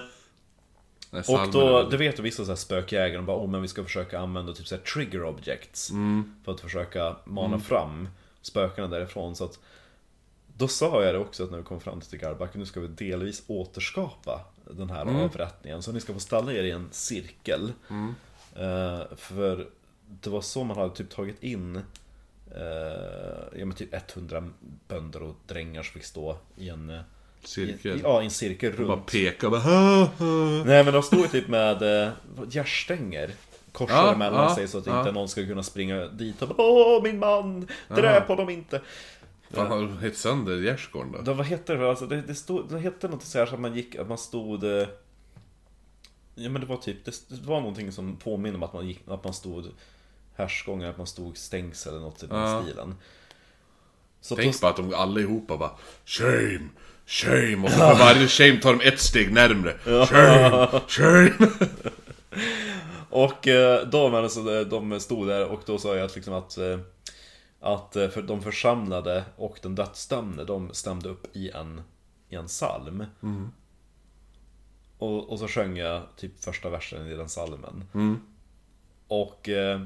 Speaker 1: Nej,
Speaker 2: Och
Speaker 1: psalmen är
Speaker 2: då,
Speaker 1: väl-
Speaker 2: du vet ju vissa så här spökjägare, de bara oh, men vi ska försöka använda typ så här trigger objects
Speaker 1: Mm.
Speaker 2: För att försöka mana fram spökena därifrån så att Då sa jag det också att när vi kom fram till Garbacken, nu ska vi delvis återskapa den här
Speaker 1: Mm.
Speaker 2: avrättningen Så ni ska få ställa er i en cirkel Eh, För det var så man hade typ tagit in eh, ja, men typ 100 bönder och drängar som fick stå i en eh,
Speaker 1: Cirkel.
Speaker 2: I, ja, i en cirkel runt
Speaker 1: Bara peka och bara... "Ha, ha."
Speaker 2: Nej men de står ju typ med eh, vad- järnstänger Korsar
Speaker 1: Ja,
Speaker 2: mellan
Speaker 1: ja,
Speaker 2: sig så att
Speaker 1: ja.
Speaker 2: inte någon ska kunna springa dit och bara, Åh min man! Dräp honom inte!
Speaker 1: Fan, har de hett sönder gärdsgården då?
Speaker 2: Det, vad hette det? Alltså, det, det, stod, det hette något så här så att man gick, att man stod eh, Ja men det var typ, det, det var någonting som påminner om att man gick, att man stod Härsgångar, att man stod stängsel eller något i den
Speaker 1: Ja.
Speaker 2: stilen Så att
Speaker 1: Tänk bara att de allihopa bara Shame, shame och så för varje shame tar de ett steg närmre Shame, shame
Speaker 2: Och eh, de, alltså, eh, de stod där och då sa jag att, liksom att, eh, att eh, för de församlade och den dödsdömde, de stämde upp i en, i en psalm.
Speaker 1: Mm.
Speaker 2: Och, och så sjöng jag typ första versen i den psalmen.
Speaker 1: Mm.
Speaker 2: Och eh,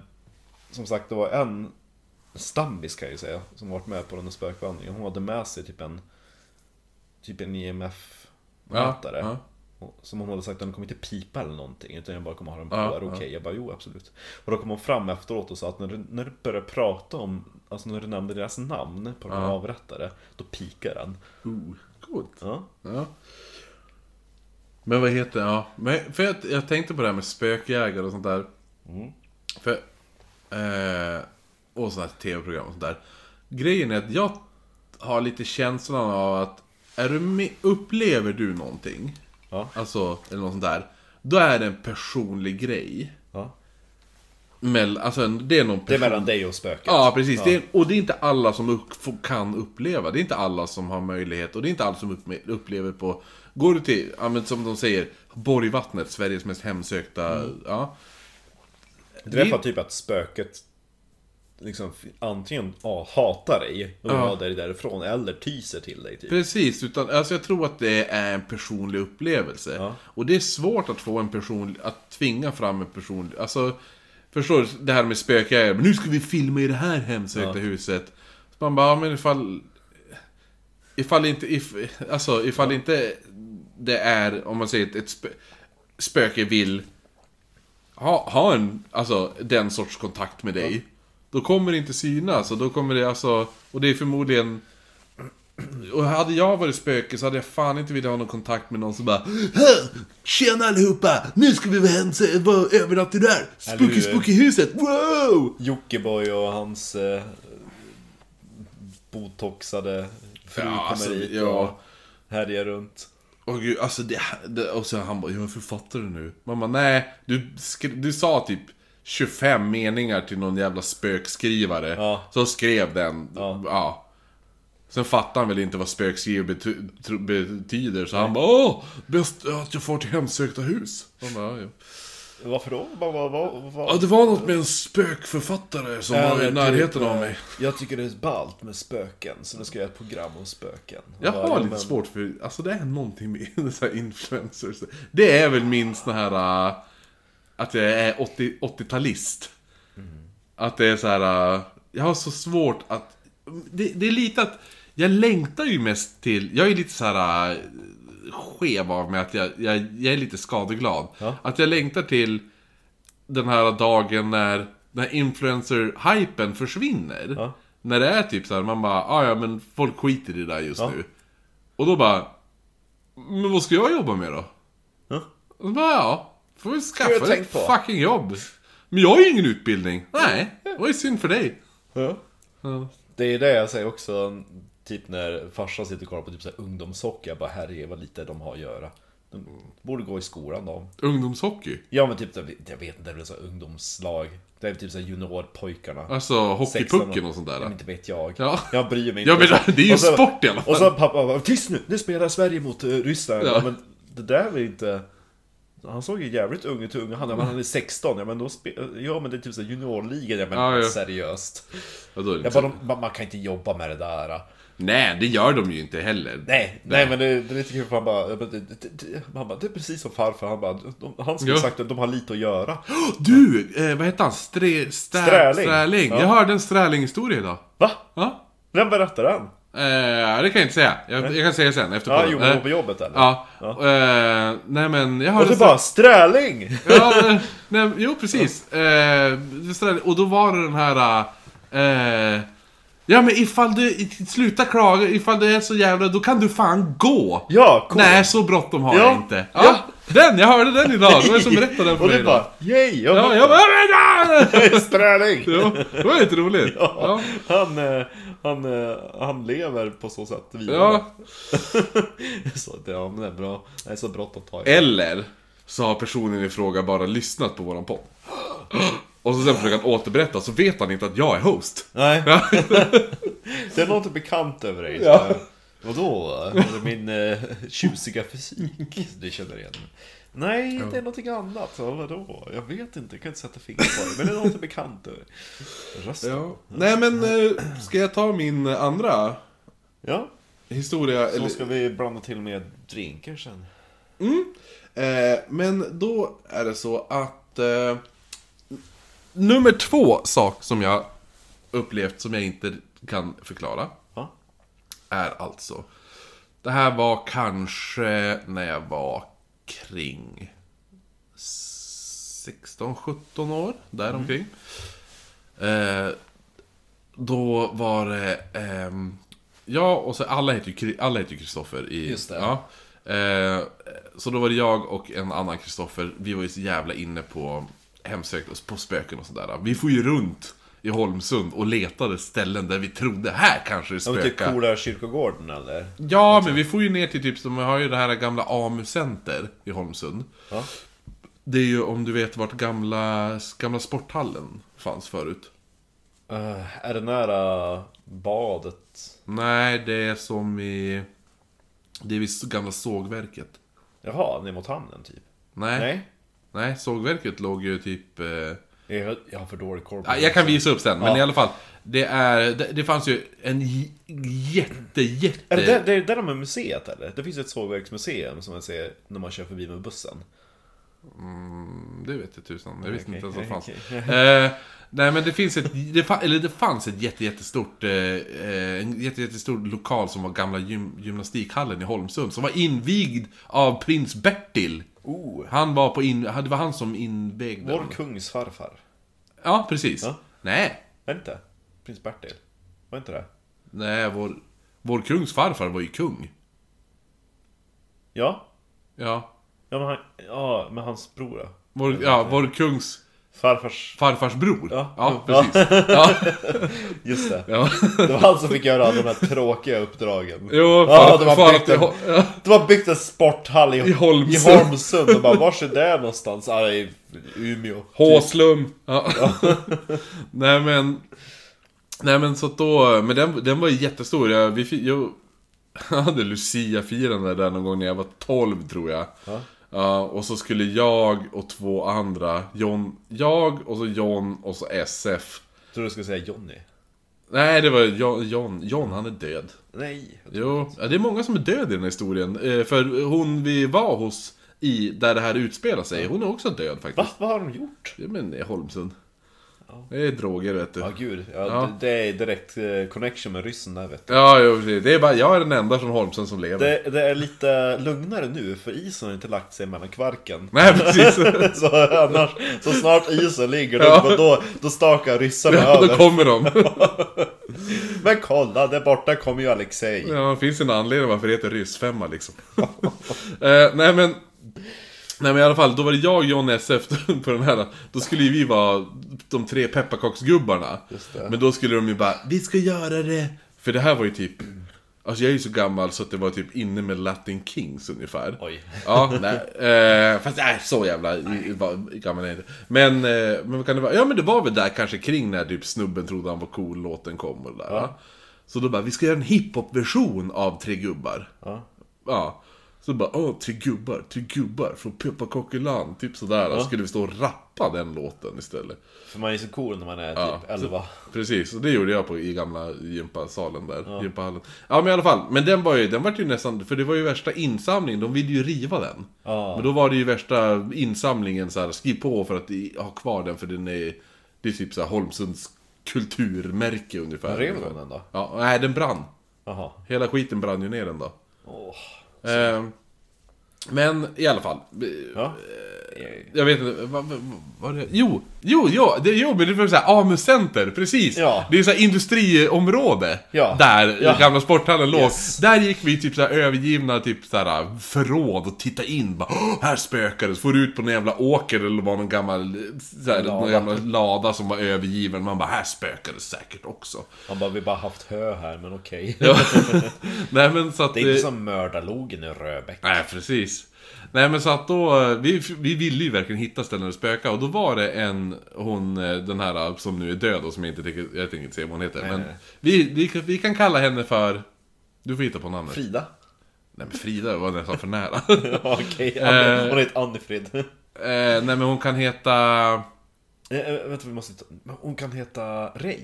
Speaker 2: som sagt, det var en stammis kan jag ju säga, som varit med på den här spökvandringen. Hon hade med sig typ en, typ en IMF-mätare.
Speaker 1: ja.
Speaker 2: Och- Som hon hade sagt, den kommer inte pipa eller någonting utan jag bara kommer ha den på,
Speaker 1: Ja,
Speaker 2: är det okej? Jag bara jo absolut Och då kom hon fram efteråt och sa att när du, när du började prata om, alltså när du nämnde deras namn på de avrättade Då pikar den
Speaker 1: Oh, Coolt
Speaker 2: ja.
Speaker 1: ja. Men vad heter ja Men för jag, jag tänkte på det här med spökjägare och sånt där
Speaker 2: Mm.
Speaker 1: För eh, Och sådana här tv-program och sånt där Grejen är att jag har lite känslan av att är du med, Upplever du någonting
Speaker 2: Ja.
Speaker 1: Alltså, eller något sånt där Då är det en personlig grej
Speaker 2: Ja.
Speaker 1: Mell, alltså en- det är någon
Speaker 2: Det är
Speaker 1: person...
Speaker 2: mellan dig och spöket
Speaker 1: Ja, precis. Det är, och det är inte alla som upp, får- kan uppleva. Det är inte alla som har möjlighet. Och det är inte alla som upp, upplever på... Går du till, ja, men som de säger, Borgvattnet, Sveriges mest hemsökta... Ja,
Speaker 2: Det är för typ att spöket liksom antingen A, hatar dig och vill
Speaker 1: Ja.
Speaker 2: ha dig därifrån eller tyser till dig typ
Speaker 1: precis. Utan, alltså, jag tror att det är en personlig upplevelse.
Speaker 2: Ja.
Speaker 1: Och det är svårt att få en person Att tvinga fram en personlig... Alltså, förstår du? Det här med spökjägare. Men nu ska vi filma i det här hemsökta huset. Så man bara, ja, men ifall... Ifall inte, if, alltså, ifall inte det är, om man säger ett, ett spö, spöke vill ha, ha en, alltså den sorts kontakt med dig. Då kommer det inte synas och då kommer det alltså, och det är förmodligen och hade jag varit spöke så hade jag fan inte velat ha någon kontakt med någon som bara "Hö, Tjena allihopa! Nu ska vi vara hem och övernatta där!
Speaker 2: Eller hur?
Speaker 1: Spooky spooky huset! Wow!
Speaker 2: Jockiboi och hans eh, botoxade fru
Speaker 1: Ja,
Speaker 2: kommer
Speaker 1: alltså,
Speaker 2: hit
Speaker 1: ja.
Speaker 2: och härjar runt
Speaker 1: Och gud, alltså det, det Och så han bara, jag är författare nu. Man bara, nej. Du, skri- du sa typ 25 meningar till någon jävla spökskrivare.
Speaker 2: Ja.
Speaker 1: Så skrev den.
Speaker 2: Ja.
Speaker 1: Sen fattar han väl inte vad spökskriv bety- tro- betyder. Så han bara, åh! Bäst att jag får till hemsökta hus. Man bara, ja, ja.
Speaker 2: Varför då? Vad, vad, vad, vad?
Speaker 1: ja, det var något med en spökförfattare som var i
Speaker 2: Eller
Speaker 1: närheten
Speaker 2: typ,
Speaker 1: av
Speaker 2: eh,
Speaker 1: mig.
Speaker 2: Jag tycker det är ballt med spöken, så nu ska jag göra ett program om spöken.
Speaker 1: Jag
Speaker 2: Bara,
Speaker 1: har
Speaker 2: ja,
Speaker 1: lite
Speaker 2: men-
Speaker 1: svårt för, alltså det är någonting med *laughs* så här influencers. Det är väl min sån här, äh, att jag är 80 80-talist. Att det är så här, äh, jag har så svårt att, det, det är lite att, jag längtar ju mest till, jag är lite så här äh, skev av mig att jag, jag, jag är lite skadeglad.
Speaker 2: Ja.
Speaker 1: Att jag längtar till den här dagen när, när influencer-hypen försvinner.
Speaker 2: Ja.
Speaker 1: När det är typ så här, man bara, "Ah, ja men folk skiter i det där just
Speaker 2: Ja.
Speaker 1: nu. Och då bara, men vad ska jag jobba med då?
Speaker 2: Ja.
Speaker 1: Och så bara, ja, får vi
Speaker 2: har jag
Speaker 1: skaffa dig
Speaker 2: tänkt
Speaker 1: ett
Speaker 2: på.
Speaker 1: fucking jobb. Men jag har ju ingen utbildning. Nej, det var ju synd för dig.
Speaker 2: Ja. Det är det jag säger också, typ när farsan sitter och kollar på typ så här ungdomshockey, jag bara herre vad lite de har att göra. De borde gå i skolan då.
Speaker 1: Ungdomshockey.
Speaker 2: Ja men typ, jag vet inte, det är så här ungdomslag. Det är typ så här juniorpojkarna.
Speaker 1: Alltså
Speaker 2: 16
Speaker 1: hockeypucken och sånt
Speaker 2: Ja, men
Speaker 1: där.
Speaker 2: inte vet jag.
Speaker 1: Ja.
Speaker 2: Jag bryr mig
Speaker 1: Ja,
Speaker 2: inte.
Speaker 1: men det är ju
Speaker 2: Och så-
Speaker 1: sport i alla fall.
Speaker 2: Och så pappa bara, tyst nu! Nu spelar Sverige mot eh, Ryssland.
Speaker 1: Ja.
Speaker 2: Ja. Men det där är väl inte... Han såg ju jävligt ung ut, ung. Han, men han är 16, ja men, då spe- ja, men det är typ så här juniorligan, ja, men
Speaker 1: Ja, ja.
Speaker 2: seriöst.
Speaker 1: Ja, då är det
Speaker 2: Jag
Speaker 1: inte
Speaker 2: bara,
Speaker 1: så-
Speaker 2: de, man, man kan inte jobba med det där. äh.
Speaker 1: Nej, det gör de ju inte heller.
Speaker 2: Nej, nej, men det, det är lite kul för han bara, jag bara, det, det, det, han bara, det är precis som farfar. Han bara, de, han skulle
Speaker 1: Ja.
Speaker 2: sagt att de har lite att göra.
Speaker 1: *gasps* Du! Eh, vad heter han? Stre, strä,
Speaker 2: Sträling.
Speaker 1: Sträling.
Speaker 2: Ja.
Speaker 1: Jag hörde en Sträling-historia idag.
Speaker 2: Va?
Speaker 1: Ja.
Speaker 2: Vem berättar den?
Speaker 1: Eh, det kan jag inte säga. Jag, jag kan säga sen efter
Speaker 2: Ja,
Speaker 1: podden.
Speaker 2: gjorde hon
Speaker 1: Eh,
Speaker 2: på jobbet eller?
Speaker 1: Ja. Eh, nej men jag
Speaker 2: Och
Speaker 1: hörde...
Speaker 2: du bara, Sträling!
Speaker 1: ja, eh, nej, jo, precis. Eh, Sträling. och då var det den här... Eh, ja men ifall du... i- Sluta klaga. Ifall det är så jävla... Då kan du fan gå.
Speaker 2: Ja, cool.
Speaker 1: Nej, så bråttom har
Speaker 2: Ja.
Speaker 1: jag inte. Ja,
Speaker 2: Ja.
Speaker 1: Den! Jag hörde den idag. Det var jag som berättade den för
Speaker 2: *laughs* Och
Speaker 1: mig
Speaker 2: du
Speaker 1: idag.
Speaker 2: bara, yay! Jag *laughs*
Speaker 1: Ja, jag bara... *laughs*
Speaker 2: Sträling!
Speaker 1: Ja, det var lite roligt. Ja.
Speaker 2: Han, eh, han, eh, han lever på så sätt vidare.
Speaker 1: Ja.
Speaker 2: *laughs* så, att, ja, men det är bra. Det är så bråttom att ta i.
Speaker 1: Eller så har personen i fråga bara lyssnat på våran podd. Och så sen försöker han återberätta, så vet han inte att jag är host.
Speaker 2: Nej,
Speaker 1: Ja.
Speaker 2: *laughs* det är något bekant över dig.
Speaker 1: Ja.
Speaker 2: Så, Vadå? Är det min eh, tjusiga fysik du känner igen? Nej, det är någonting annat. Ja, vadå? Jag vet inte, jag kan inte sätta fingret på det. Men det är något bekant över rösten. Ja,
Speaker 1: Ja. Nej men, eh, ska jag ta min andra historia?
Speaker 2: så
Speaker 1: Eller,
Speaker 2: ska vi blanda till med drinkar sen.
Speaker 1: eh, men då är det så att... Eh, nummer två sak som jag upplevt som jag inte kan förklara.
Speaker 2: Ja.
Speaker 1: är alltså... Det här var kanske när jag var kring 16-17 år, däromkring. Eh, då var det... ehm, ja, och så alla heter ju Kri- alla heter ju Kristoffer i...
Speaker 2: Just det.
Speaker 1: Ja, eh, så då var det jag och en annan Kristoffer, vi var ju så jävla inne på hemsökt, på spöken och sådär. Vi får ju runt i Holmsund och letade ställen där vi trodde, här kanske det
Speaker 2: Ja, men
Speaker 1: spökar.
Speaker 2: typ coola kyrkogården eller? Alltså.
Speaker 1: Ja, men vi får ju ner till typ, som vi har ju det här gamla AMU-center i Holmsund.
Speaker 2: Ja.
Speaker 1: Det är ju om du vet vart gamla, gamla sporthallen fanns förut.
Speaker 2: Eh, är det nära badet?
Speaker 1: Nej, det är som i... Det är vid gamla sågverket.
Speaker 2: Jaha, ner mot hamnen typ?
Speaker 1: Nej, nej.
Speaker 2: Nej?
Speaker 1: sågverket låg ju typ... Eh...
Speaker 2: Jag, jag har för dålig koll på
Speaker 1: Ja, jag kan
Speaker 2: det.
Speaker 1: visa upp sen, men
Speaker 2: Ja.
Speaker 1: i alla fall. Det, är, det, det fanns ju en j- jätte, jätte...
Speaker 2: Är det där, det är där de är museet eller? Det finns ett sågverksmuseum som man ser när man kör förbi med bussen.
Speaker 1: Det vet jag tusan, jag visste
Speaker 2: okej,
Speaker 1: inte ens att det fanns.
Speaker 2: *laughs* okej.
Speaker 1: Eh, nej men det finns ett, det fa- eller det fanns ett jätte, jättestort, eh, eh, en jätte, jättestor lokal som var gamla gym, gymnastikhallen i Holmsund. Som var invigd av prins Bertil.
Speaker 2: Oh.
Speaker 1: Han var på in, det var han som invigde
Speaker 2: Vår
Speaker 1: den.
Speaker 2: kungs farfar.
Speaker 1: Ja, precis.
Speaker 2: Ja.
Speaker 1: Nej,
Speaker 2: Är det inte? Prins Bertil? Var inte det?
Speaker 1: nej vår, vår kungs farfar var ju kung.
Speaker 2: Ja?
Speaker 1: Ja,
Speaker 2: Ja men, han, ja, men hans bror då?
Speaker 1: vår, ja, vår kungs
Speaker 2: Farfars...
Speaker 1: farfars bror.
Speaker 2: Ja. *laughs*
Speaker 1: precis. Ja.
Speaker 2: Just det.
Speaker 1: Ja.
Speaker 2: Det var han som fick göra alla de här tråkiga uppdragen.
Speaker 1: Jo, far-
Speaker 2: ja, de har
Speaker 1: far-
Speaker 2: byggt en,
Speaker 1: ja.
Speaker 2: de har byggt en sporthall i,
Speaker 1: I Holmsund.
Speaker 2: I Holmsund. Och bara, vars är det någonstans? Ah, i Umeå.
Speaker 1: Håslum! Ja. *laughs* Nej men... Nej men så att då, men den, den var ju jättestor. Jag, vi, fi- jag, *laughs* jag hade Lucia-firande där någon gång när jag var 12 tror jag.
Speaker 2: Ja.
Speaker 1: Ja, och så skulle jag och två andra, John, jag och så John och så SF.
Speaker 2: Tror du skulle säga Johnny?
Speaker 1: Nej det var John, John, John han är död.
Speaker 2: Nej.
Speaker 1: Jo, ja, det är många som är döda i den här historien. Eh, För hon vi var hos, i, där det här utspelar sig, hon är också död faktiskt.
Speaker 2: Va? Vad har de gjort?
Speaker 1: Ja men i Holmsund. Det är droger vet du.
Speaker 2: Ja gud, ja,
Speaker 1: Ja.
Speaker 2: Det, det är direkt eh, connection med ryssen där vet du.
Speaker 1: Ja, jo, precis. Det är bara, jag är den enda från Holmsund som lever.
Speaker 2: Det, det är lite lugnare nu för isen har inte lagt sig mellan kvarken.
Speaker 1: Nej, precis.
Speaker 2: *laughs* Så, annars, så snart isen ligger då,
Speaker 1: Ja.
Speaker 2: då, då stakar ryssarna
Speaker 1: *laughs* Ja, då
Speaker 2: över.
Speaker 1: kommer de.
Speaker 2: Men kolla, där borta kommer ju Alexej.
Speaker 1: Ja, det finns en anledning varför det heter ryssfemma liksom. *laughs* eh, nej men... Nej men i alla fall, då var det jag, John SF *laughs* på den här. Då skulle ju vi vara de tre pepparkaksgubbarna. Men då skulle de ju bara, vi ska göra det! För det här var ju typ... Alltså jag är ju så gammal så att det var typ inne med Latin Kings ungefär.
Speaker 2: Oj.
Speaker 1: Ja, nej. Eh, fast nej, så jävla var- gammal är jag inte. Men, eh, men vad kan det vara? Ja men det var väl där kanske kring när typ snubben trodde han var cool, låten kom och det där. va? Så då bara, vi ska göra en hiphop-version av Tre Gubbar.
Speaker 2: Ja.
Speaker 1: Ja. Så bara, åh, tre gubbar, tre gubbar från Pepparkakeland, typ sådär. Så skulle vi stå och rappa den låten istället.
Speaker 2: För man är så cool när man är
Speaker 1: Ja.
Speaker 2: typ 11.
Speaker 1: Precis, och det gjorde jag på, i gamla gympasalen där, gympahallen. Ja men i alla fall, men den var ju, den var ju nästan, för det var ju värsta insamlingen, de ville ju riva den.
Speaker 2: Ja.
Speaker 1: Men då var det ju värsta insamlingen så här, skriv på för att i- ha kvar den för den är, det är typ så här Holmsunds kulturmärke ungefär.
Speaker 2: Rev de den då?
Speaker 1: Ja, nej den brann.
Speaker 2: Jaha.
Speaker 1: Hela skiten brann ju ner den då.
Speaker 2: Åh.
Speaker 1: Eh, men i alla fall, eh,
Speaker 2: Ja.
Speaker 1: jag vet inte, vad vad- vad var det? Jo, jo, jo, det, jo men det var såhär AMU-center, precis!
Speaker 2: Ja.
Speaker 1: Det är såhär industriområde,
Speaker 2: Ja.
Speaker 1: där
Speaker 2: Ja.
Speaker 1: gamla sporthallen låg.
Speaker 2: Yes.
Speaker 1: Där gick vi typ såhär övergivna typ såhär förråd och tittade in bara "Åh, Här spökar det, så får du ut på någon jävla åker eller var någon gammal, såhär,
Speaker 2: Lada.
Speaker 1: någon gamla lada som var övergiven. Man bara, här spökar det säkert också.
Speaker 2: *laughs*
Speaker 1: *laughs*
Speaker 2: Han bara, vi bara haft hö här, men okej.
Speaker 1: Ja. Nej men så att...
Speaker 2: *laughs* Det är inte
Speaker 1: eh,
Speaker 2: som mördarlogen i Röbäck.
Speaker 1: Nej, precis. Nej men så att då, eh, vi, vi ville ju verkligen hitta ställen att spöka och då var det en, hon, eh, den här som nu är död och som jag inte tänker, jag tänker inte säga vad hon heter. men
Speaker 2: nej.
Speaker 1: Vi, vi, kan- vi kan kalla henne för, du får hitta på namnet.
Speaker 2: Frida? *laughs*
Speaker 1: nej men Frida var nästan för nära. *laughs*
Speaker 2: Ja, okej. Anne- Hon heter Annifrid. *laughs*
Speaker 1: eh, nej men hon kan heta,
Speaker 2: Eh, eh, Vänta, vi måste ta... men Hon kan heta Ray.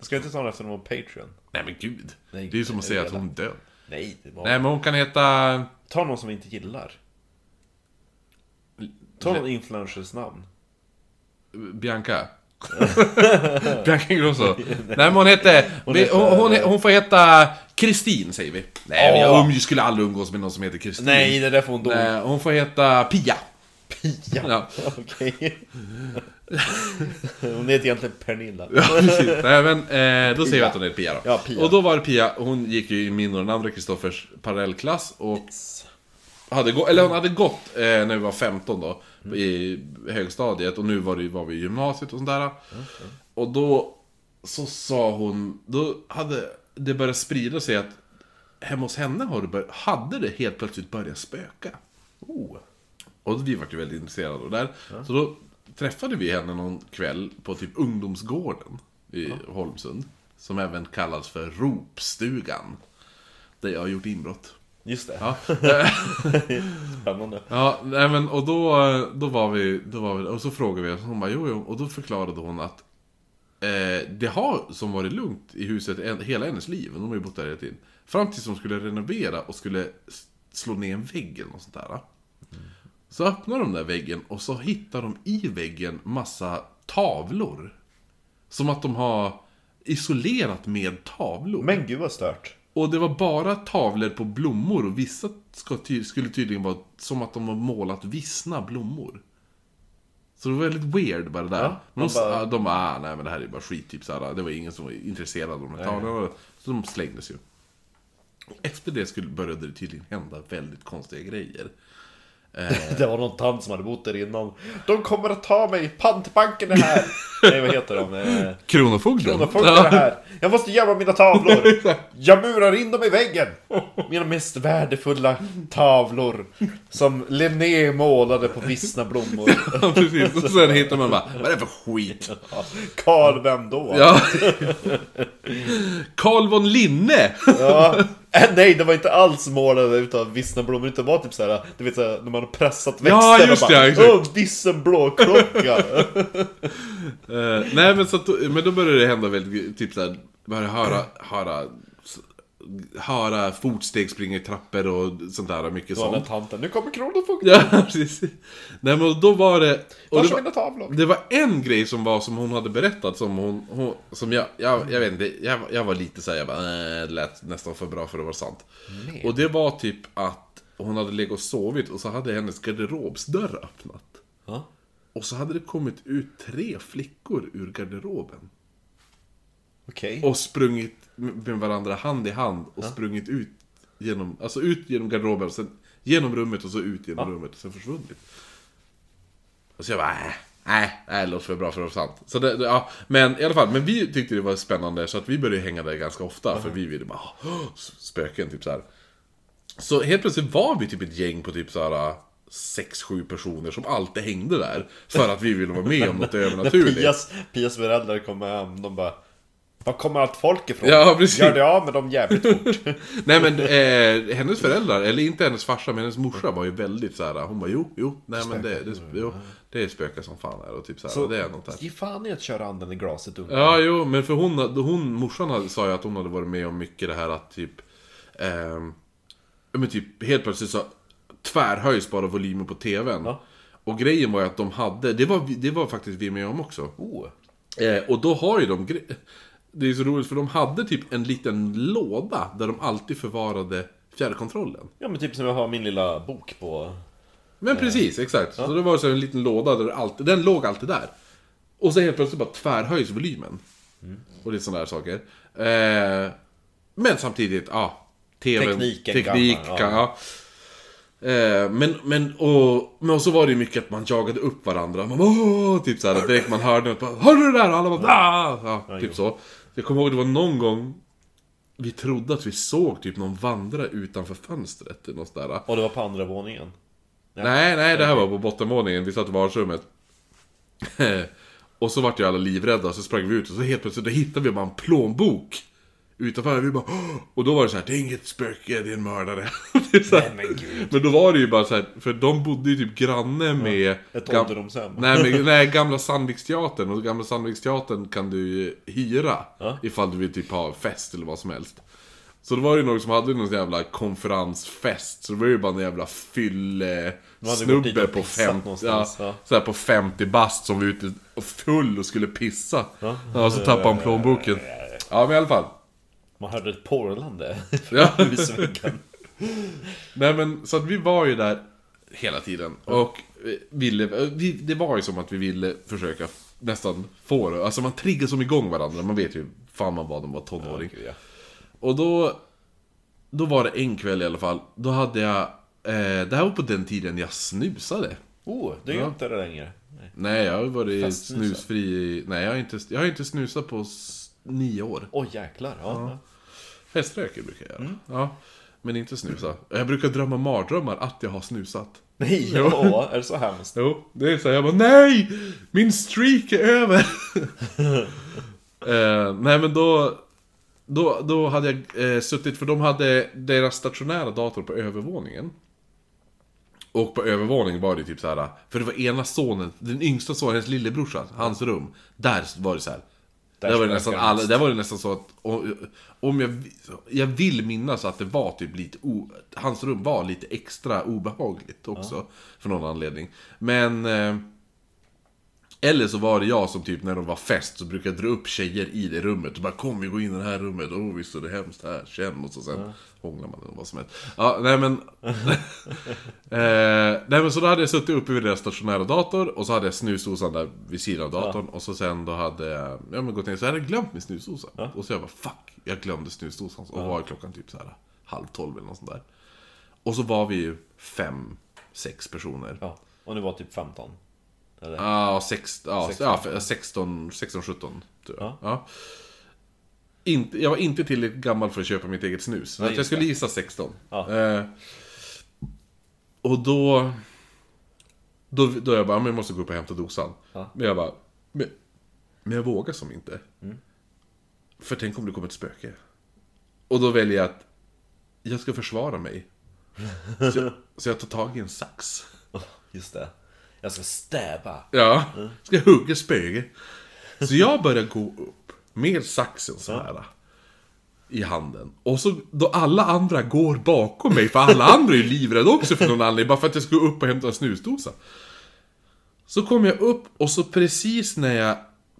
Speaker 2: Ska vi inte ta henne efter hon var Patreon?
Speaker 1: nej men gud.
Speaker 2: Nej,
Speaker 1: det är ju som att
Speaker 2: det är
Speaker 1: säga att
Speaker 2: redan.
Speaker 1: hon är död.
Speaker 2: Nej, det var...
Speaker 1: Nej men hon kan heta,
Speaker 2: Ta någon som vi inte gillar. Ta någon influencers namn.
Speaker 1: Mm. Bianca. *laughs* Bianca Ingrosso. Nej men hon hette... Hon,
Speaker 2: heter-
Speaker 1: hon, hon, får heta Kristin säger vi. Nej men jag
Speaker 2: Ja.
Speaker 1: umg- skulle aldrig umgås med någon som heter Kristin.
Speaker 2: Nej, det där får hon då.
Speaker 1: Eh, Hon får heta
Speaker 2: *laughs*
Speaker 1: Pia.
Speaker 2: Pia.
Speaker 1: Ja.
Speaker 2: *laughs* Okej. Hon heter egentligen Pernilla.
Speaker 1: Ja, precis. Nej, men, eh, då säger vi att hon är Pia då.
Speaker 2: Ja, Pia.
Speaker 1: Och då var det Pia, hon gick ju i min och den andra Kristoffers parallellklass och hade gå- eller hon hade gått eh, när vi var 15 då, i högstadiet och nu var, det, var vi i gymnasiet och sådär. Och då så sa hon, då hade det börjat sprida sig att hemma hos henne har det bör- hade det helt plötsligt börjat spöka.
Speaker 2: Oh.
Speaker 1: Och vi var ju väldigt intresserade av det där. Så då träffade vi henne någon kväll på typ ungdomsgården i Holmsund. Som även kallas för Ropstugan. Där jag har gjort inbrott.
Speaker 2: Just det.
Speaker 1: Ja,
Speaker 2: Spännande.
Speaker 1: ja nej men, och då, då, var vi, då var vi Och så frågade vi och hon bara jo, jo. Och då förklarade hon att eh, det har som varit lugnt i huset en, hela hennes liv. De har ju bott där hela tiden. Fram tills hon skulle renovera och skulle s- slå ner en vägg eller något sånt där. Så öppnar de den där väggen och så hittar de i väggen massa tavlor. Som att de har isolerat med tavlor.
Speaker 2: Men gud vad stört.
Speaker 1: Och det var bara tavlor på blommor och vissa ska ty- skulle tydligen vara som att de har målat vissna blommor. Så det var väldigt weird bara det där.
Speaker 2: Ja,
Speaker 1: men de,
Speaker 2: man bara-
Speaker 1: bara... de bara, ah, nej men det här är bara skit, typ såhär. Det var ingen som var intresserad av de här tavlorna. Så de slängdes ju. Efter det skulle, började det tydligen hända väldigt konstiga grejer. Eh.
Speaker 2: Det var någon tant som hade bott där innan. De kommer att ta mig, pantbanken
Speaker 1: *laughs*
Speaker 2: är här! Nej, vad heter de? Eh,
Speaker 1: Kronofogden?
Speaker 2: Kronofogden är här! Jag måste gömma mina tavlor! Jag murar in dem i väggen! Mina mest värdefulla tavlor Som Linné målade på vissna blommor
Speaker 1: *laughs* Ja, precis. Och sen hittar man bara, vad är det för
Speaker 2: *laughs*
Speaker 1: skit?
Speaker 2: Karl vem då?
Speaker 1: Ja. Carl von Linne!
Speaker 2: Ja. Äh, nej, det var inte alls målade utav vissna blommor utan det var typ såhär, du vet såhär, när man har pressat växter
Speaker 1: Ja, just
Speaker 2: och
Speaker 1: det, ja,
Speaker 2: bara
Speaker 1: exakt.
Speaker 2: Åh,
Speaker 1: *laughs*
Speaker 2: vissen blåklocka!
Speaker 1: Eh, nej men så att, men då började det hända väldigt, typ såhär, började höra, höra, s- höra fotsteg springa i trappor och sånt där, mycket
Speaker 2: Så den
Speaker 1: sånt. *laughs*
Speaker 2: där tanten, nu kommer kronofogden!
Speaker 1: Ja, precis. Nej men då var det... och det
Speaker 2: Vars är
Speaker 1: var-
Speaker 2: mina tavlor?
Speaker 1: det var en grej som var som hon hade berättat som hon, hon som jag, jag, jag vet inte, jag, jag var lite såhär, jag bara, "Nej, det lät nästan för bra för att vara sant. Och det var typ att hon hade legat och sovit och så hade hennes garderobsdörr öppnat.
Speaker 2: Ja.
Speaker 1: Och så hade det kommit ut tre flickor ur garderoben.
Speaker 2: Okej,
Speaker 1: Och sprungit med varandra hand i hand och sprungit ut genom, alltså ut genom garderoben, sen genom rummet och så ut genom rummet och sen försvunnit. Och så jag bara, "Äh, nej, nej, det låter för bra för att vara sant. Så det, det- ja, men i alla fall, men vi tyckte det var spännande så att vi började hänga där ganska ofta för vi ville bara, "Åh, spöken, typ så här. Så helt plötsligt var vi typ ett gäng på typ såhär 6-7 personer som alltid hängde där För att vi ville vara med om något
Speaker 2: när
Speaker 1: övernaturligt
Speaker 2: Pias, Pias föräldrar kommer hem, de bara Var kommer allt folk ifrån?
Speaker 1: Ja, precis.
Speaker 2: Gör det av med
Speaker 1: *laughs*
Speaker 2: dem jävligt fort.
Speaker 1: Nej men eh, hennes föräldrar, eller inte hennes farsa, men hennes morsa var ju väldigt så här. Hon bara jo, jo, nej men det, det, jo, det spökar som fan här och typ så här,
Speaker 2: Så-
Speaker 1: det är något här.
Speaker 2: Ge fan i att köra anden i glaset unga.
Speaker 1: Ja, jo, men för hon, hon morsan hade, sa ju att hon hade varit med om mycket det här att typ... ehm, ja men typ helt plötsligt så tvärhöjs bara volymen på TVn.
Speaker 2: Ja.
Speaker 1: Och grejen var ju att de hade, det var, vi- det var faktiskt vi med om också.
Speaker 2: Oh.
Speaker 1: Eh, och då har ju de... gre- Det är så roligt för de hade typ en liten låda där de alltid förvarade fjärrkontrollen.
Speaker 2: Ja men typ som jag har min lilla bok på...
Speaker 1: Men precis, exakt. Så det var så en liten låda där det alltid, den låg alltid där. Och så helt plötsligt bara tvärhöjs volymen. Och lite sådana där saker. Eh, men samtidigt, ja. TV,
Speaker 2: Tekniken
Speaker 1: teknik,
Speaker 2: gammal,
Speaker 1: kan, ja. Eh, Men, men, och, men och så var det ju mycket att man jagade upp varandra. Man bara, Åh! Typ såhär, direkt man hörde något. bara, Hör du det där? Och alla bara, ah! ja, typ så. Jag kommer ihåg det var någon gång vi trodde att vi såg typ någon vandra utanför fönstret. Eller något sådär.
Speaker 2: Och det var på andra våningen.
Speaker 1: Nej, nej, det här var på bottenvåningen. Vi satt i vardagsrummet. *laughs* och så vart ju alla livrädda, så sprang vi ut och så helt plötsligt då hittade vi bara en plånbok. Utanför, vi bara "Åh!" Och då var det så här, det är inget spöke, det är en mördare. *laughs* det är så här.
Speaker 2: men gud.
Speaker 1: Men då var det ju bara så här, för de bodde ju typ granne med...
Speaker 2: Ett
Speaker 1: gam-
Speaker 2: ålderdomshem.
Speaker 1: Nej,
Speaker 2: *laughs*
Speaker 1: men, nej, gamla Sandviksteatern. Och gamla Sandviksteatern kan du ju hyra.
Speaker 2: Ja.
Speaker 1: Ifall du vill typ ha fest eller vad som helst. Så det var ju någon som hade någon sån jävla konferensfest. Så det var ju bara en jävla fylle
Speaker 2: hade gått dit
Speaker 1: snubbe
Speaker 2: och
Speaker 1: på,
Speaker 2: pissat
Speaker 1: fem, ja,
Speaker 2: någonstans, ja.
Speaker 1: Så här på 50 bast som var ute och full och skulle pissa. Ja, så tappade han plånboken. Ja, men i alla fall.
Speaker 2: Man hörde ett *laughs* porlande
Speaker 1: Ja.
Speaker 2: från husväggen.
Speaker 1: Nej men så att vi var ju där hela tiden och eh, ville, eh, vi, det var ju som att vi ville försöka f- nästan få det. Alltså man triggar som igång varandra, man vet ju fan man var när man var tonåring.
Speaker 2: Gud, ja.
Speaker 1: Och då, då var det en kväll i alla fall, då hade jag, eh, det här var på den tiden jag snusade.
Speaker 2: Oh, du gör inte det längre. Nej.
Speaker 1: Nej jag har ju varit
Speaker 2: Festsnusar.
Speaker 1: snusfri, i- nej jag har inte, jag har inte snusat på s- nio år.
Speaker 2: Oj jäklar. Ja.
Speaker 1: Feströker brukar jag göra. Ja, men inte snusa. Jag brukar drömma mardrömmar att jag har snusat. *laughs*
Speaker 2: Nej, ja, är det så hemskt?
Speaker 1: Jo, det är så här, jag bara NEJ! Min streak är över! eh, nej men då, då, då hade jag eh, suttit, för de hade deras stationära dator på övervåningen. Och på övervåningen var det typ så här, för det var ena sonen, den yngsta sonen, hennes lillebrorsa, hans rum. Där var det så här. Där,
Speaker 2: Där
Speaker 1: var
Speaker 2: ska
Speaker 1: det nästan
Speaker 2: jag
Speaker 1: alla, där var det nästan så att, om- om jag, jag vill minnas att det var typ lite, o, hans rum var lite extra obehagligt också. För någon anledning. Men... Eh, eller så var det jag som typ när de var fest så brukade jag dra upp tjejer i det rummet och bara kom vi går in i det här rummet, åh oh, visst är det hemskt här, känn och så sen hånglar man eller vad som helst. Ja, nej men... eh, nej men så då hade jag suttit uppe vid deras stationära dator och så hade jag snusdosan där vid sidan av datorn och så sen då hade jag ja, men gått ner så hade jag glömt min snusdosa. Och så jag bara fuck, jag glömde snusdosan. Och var klockan typ så här halv tolv eller något sånt där. Och så var vi ju fem, sex personer.
Speaker 2: Ja. Och nu var typ 15. Eller?
Speaker 1: Ja, sex, ja, ja, f- 16, 16, 17 tror jag.
Speaker 2: Ja.
Speaker 1: Ja. Inte, jag var inte tillräckligt gammal för att köpa mitt eget snus. Så
Speaker 2: Nej,
Speaker 1: att jag
Speaker 2: just
Speaker 1: skulle gissa 16.
Speaker 2: Ja.
Speaker 1: Eh, och då... Då, då jag bara, men jag måste gå upp och hämta dosan.
Speaker 2: Ja.
Speaker 1: Men jag bara, men, men jag vågar som inte.
Speaker 2: Mm.
Speaker 1: För tänk om det kommer ett spöke. Och då väljer jag att jag ska försvara
Speaker 2: *laughs*
Speaker 1: mig. Så jag, så jag tar tag i en sax.
Speaker 2: Just det. Jag ska stäba.
Speaker 1: Ja, ska hugga spöge. Så jag börjar gå upp med saxen så här. I handen. Och så då alla andra går bakom mig, för alla andra är ju livrädda också för någon anledning, bara för att jag ska gå upp och hämta en snusdosa. Så kommer jag upp och så precis när jag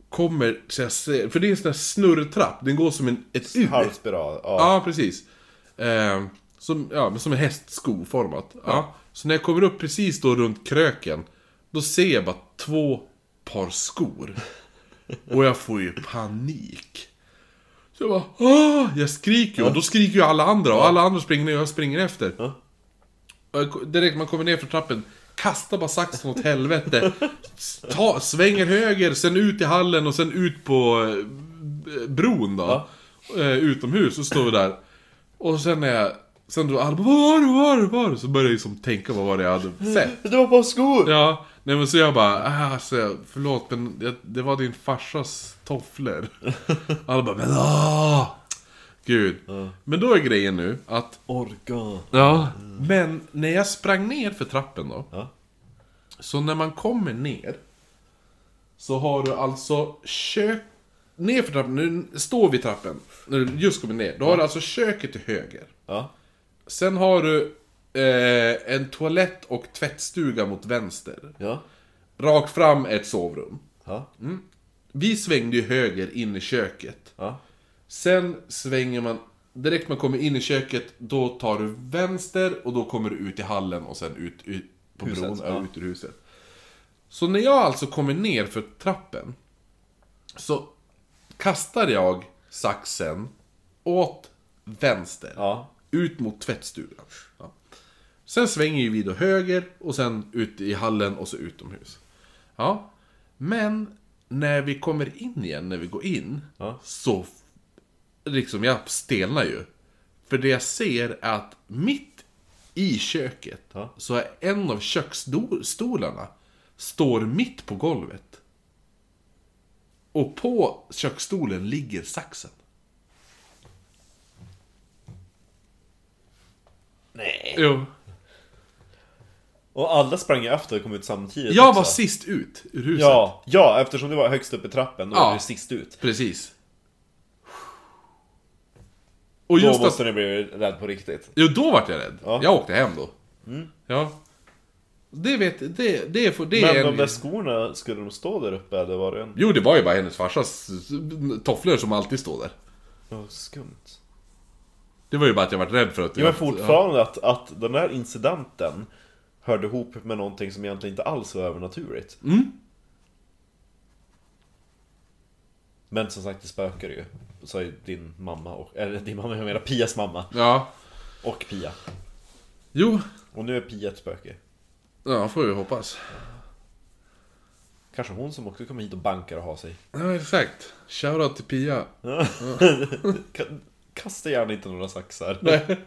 Speaker 1: kommer, så jag ser, för det är en sån där snurrtrapp, den går som en, ett U.
Speaker 2: Halvspiral. Ja.
Speaker 1: Ja, precis. Eh, som, ja, men som en hästsko format. Ja. Så när jag kommer upp precis då runt kröken, då ser jag bara två par skor. Och jag får ju panik. Så jag bara Åh! Jag skriker ju, och då skriker ju alla andra och alla andra springer ner och jag springer efter.
Speaker 2: Ja.
Speaker 1: Och jag ko- direkt man kommer ner för trappen, kastar bara saxen åt helvete. s- Ta, svänger höger, sen ut i hallen och sen ut på eh, bron då. Eh, utomhus, och står vi där. Och sen när jag... Sen då alla bara, vad var det, vad var det, vad var det? Så började jag liksom tänka vad var det jag hade sett.
Speaker 2: Det var bara skor!
Speaker 1: Ja, Nej men så jag bara, ah, så jag, förlåt men det, det var din farsas tofflor. Alla bara, men ah! Gud. Men då är grejen nu att,
Speaker 2: Orga.
Speaker 1: ja, men när jag sprang ner för trappen då.
Speaker 2: Ja.
Speaker 1: Så när man kommer ner Så har du alltså kök... Ner för trappen, nu står vi i trappen När du just kommer ner, då har du alltså köket till höger
Speaker 2: Ja.
Speaker 1: Sen har du eh, en toalett och tvättstuga mot vänster
Speaker 2: Ja.
Speaker 1: Rakt fram ett sovrum Mm.
Speaker 2: Ja.
Speaker 1: Vi svängde ju höger in i köket
Speaker 2: Ja.
Speaker 1: Sen svänger man Direkt man kommer in i köket Då tar du vänster och då kommer du ut i hallen och sen ut, ut på
Speaker 2: Huset,
Speaker 1: bron,
Speaker 2: ja.
Speaker 1: ja. ut ur huset Så när jag alltså kommer ner för trappen Så kastar jag saxen åt vänster
Speaker 2: Ja.
Speaker 1: Ut mot tvättstugan ja. Sen svänger ju vi då höger och sen ut i hallen och så utomhus Ja Men när vi kommer in igen, när vi går in
Speaker 2: Ja.
Speaker 1: Så f- liksom jag stelnar ju För det jag ser är att mitt i köket
Speaker 2: Ja.
Speaker 1: Så är en av köksstolarna Står mitt på golvet Och på köksstolen ligger saxen
Speaker 2: Nej.
Speaker 1: Jo
Speaker 2: Och alla sprang ju efter och kom ut samtidigt.
Speaker 1: Jag
Speaker 2: också.
Speaker 1: var sist ut ur huset
Speaker 2: Ja, ja, eftersom du var högst upp i trappen, då
Speaker 1: Ja.
Speaker 2: var du sist ut.
Speaker 1: Precis. Och
Speaker 2: Då
Speaker 1: just
Speaker 2: måste
Speaker 1: att...
Speaker 2: ni bli rädd på riktigt.
Speaker 1: Jo, då vart jag rädd.
Speaker 2: Ja. Mm.
Speaker 1: Jag åkte hem då. Ja. Det vet... Det, det, är för, det är
Speaker 2: Men
Speaker 1: en...
Speaker 2: de där skorna, skulle de stå där uppe eller var det en...
Speaker 1: Jo, det var ju bara hennes farsas tofflor som alltid står där.
Speaker 2: Ja, skumt.
Speaker 1: Det var ju bara att jag vart rädd för att...
Speaker 2: Jo men
Speaker 1: jag,
Speaker 2: fortfarande att, att den här incidenten hörde ihop med någonting som egentligen inte alls var övernaturligt.
Speaker 1: Mm.
Speaker 2: Men som sagt, det spökar ju. Sa ju din mamma och, eller din mamma, jag menar Pias mamma
Speaker 1: Ja. ja.
Speaker 2: och Pia.
Speaker 1: Jo.
Speaker 2: Och nu är Pia ett spöke.
Speaker 1: Ja, får vi hoppas.
Speaker 2: Kanske hon som också kommer hit och bankar och
Speaker 1: *laughs*
Speaker 2: har sig.
Speaker 1: Ja, exakt. Shoutout till Pia.
Speaker 2: Ka- Kasta gärna inte några saxar.
Speaker 1: Nej.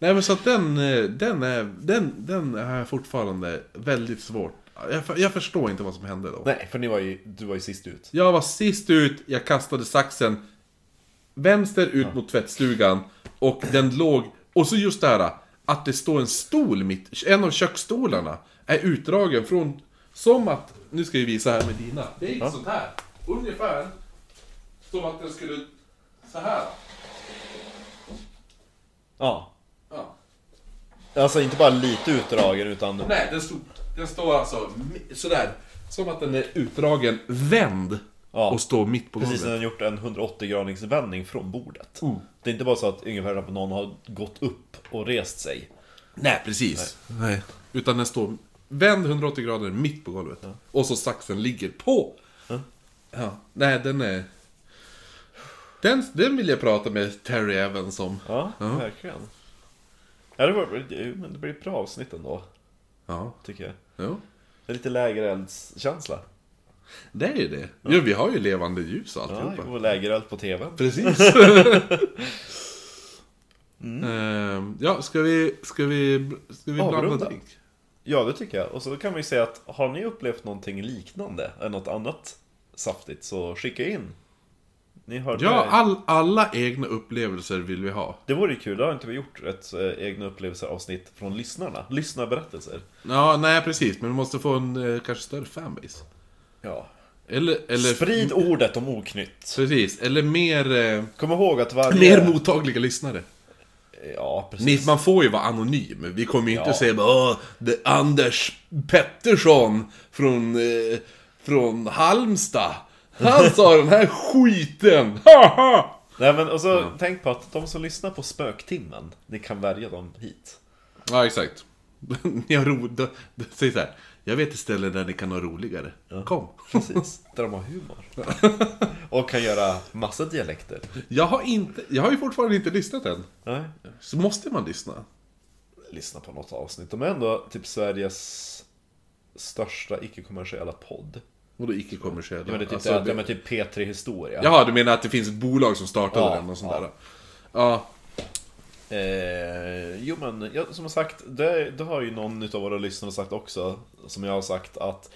Speaker 1: Nej, men så att den... eh, Den är... Den, den är fortfarande väldigt svårt. Jag, för- jag förstår inte vad som hände då.
Speaker 2: Nej, för ni var ju, du var ju sist ut.
Speaker 1: Jag var sist ut, jag kastade saxen vänster ut mot tvättstugan och den låg... Och så just det här att det står en stol mitt... En av köksstolarna är utdragen från... Som att... Nu ska jag visa här med dina. Det är
Speaker 2: Ja.
Speaker 1: sånt här. Ungefär som att den skulle... Så här.
Speaker 2: Ja.
Speaker 1: Ja.
Speaker 2: Alltså inte bara lite utdragen utan...
Speaker 1: Nej, den, stod, den står alltså mi- sådär. Som att den är utdragen, vänd
Speaker 2: Ja.
Speaker 1: och står mitt på
Speaker 2: Precis när
Speaker 1: golvet.
Speaker 2: den gjort en 180-gradingsvändning från bordet.
Speaker 1: Mm.
Speaker 2: Det är inte bara så att ungefär att någon har gått upp och rest sig.
Speaker 1: Nej, precis. Nej. Utan den står vänd 180 grader mitt på golvet. Och så saxen ligger på. Ja. Nej, den är... Den, den vill jag prata med Terry Evans om.
Speaker 2: Ja, verkligen. Ja, det, var, det- men det blir ett bra avsnitt ändå,
Speaker 1: Ja.
Speaker 2: tycker jag.
Speaker 1: Jo.
Speaker 2: Det är lite lägereldskänsla.
Speaker 1: Det är ju det. Jo, vi har ju levande ljus och
Speaker 2: Ja,
Speaker 1: alltihopa.
Speaker 2: och lägereld på TVn.
Speaker 1: Precis. *laughs* Ehm, ja, ska vi... Ska vi... Ska vi blanda
Speaker 2: Avrunda.
Speaker 1: drink?
Speaker 2: Ja, det tycker jag. Och så kan vi säga att har ni upplevt någonting liknande, eller något annat saftigt, så skicka in. Ni hörde
Speaker 1: Ja, ah.
Speaker 2: mig.
Speaker 1: all, alla egna upplevelser vill vi ha.
Speaker 2: Det vore ju kul, det har inte vi gjort, ett eh, egna upplevelser avsnitt från lyssnarna. Lyssnarberättelser.
Speaker 1: Ja, nej precis. Men vi måste få en eh, kanske större fanbase.
Speaker 2: Ja.
Speaker 1: Eller... eller
Speaker 2: Sprid ordet om oknytt.
Speaker 1: Precis, eller mer, eh,
Speaker 2: Kom ihåg att varje...
Speaker 1: mer mottagliga lyssnare.
Speaker 2: Ja,
Speaker 1: Ni,
Speaker 2: precis.
Speaker 1: man får ju vara anonym. Vi kommer ju inte
Speaker 2: Ja.
Speaker 1: säga bara, "Åh, det är Anders Pettersson från, eh, från Halmstad. Han sa den här
Speaker 2: *laughs*
Speaker 1: skiten! Haha!
Speaker 2: Nej, men och så tänk på att de som lyssnar på spöktimmen, ni kan välja dem hit.
Speaker 1: ja, exakt. *laughs* ni har ro... de- de- Säg så här. Jag vet ett ställe där ni kan ha roligare. Kom. *laughs*
Speaker 2: Precis. Där de har humor. Och kan göra massa dialekter.
Speaker 1: Jag har, inte, jag har ju fortfarande inte lyssnat än.
Speaker 2: Nej.
Speaker 1: Så måste man lyssna?
Speaker 2: Lyssna på något avsnitt. De är ändå typ Sveriges största icke-kommersiella podd.
Speaker 1: Vadå icke-kommersiella?
Speaker 2: Ja, men det är typ,
Speaker 1: Alltså,
Speaker 2: det,
Speaker 1: det-
Speaker 2: men typ P3 Historia.
Speaker 1: Jaha, du menar att det finns ett bolag som startade
Speaker 2: Ja,
Speaker 1: den och sånt
Speaker 2: ja.
Speaker 1: där? Ja.
Speaker 2: Eh, jo men ja, som sagt, det, det har ju någon av våra lyssnare sagt också, som jag har sagt att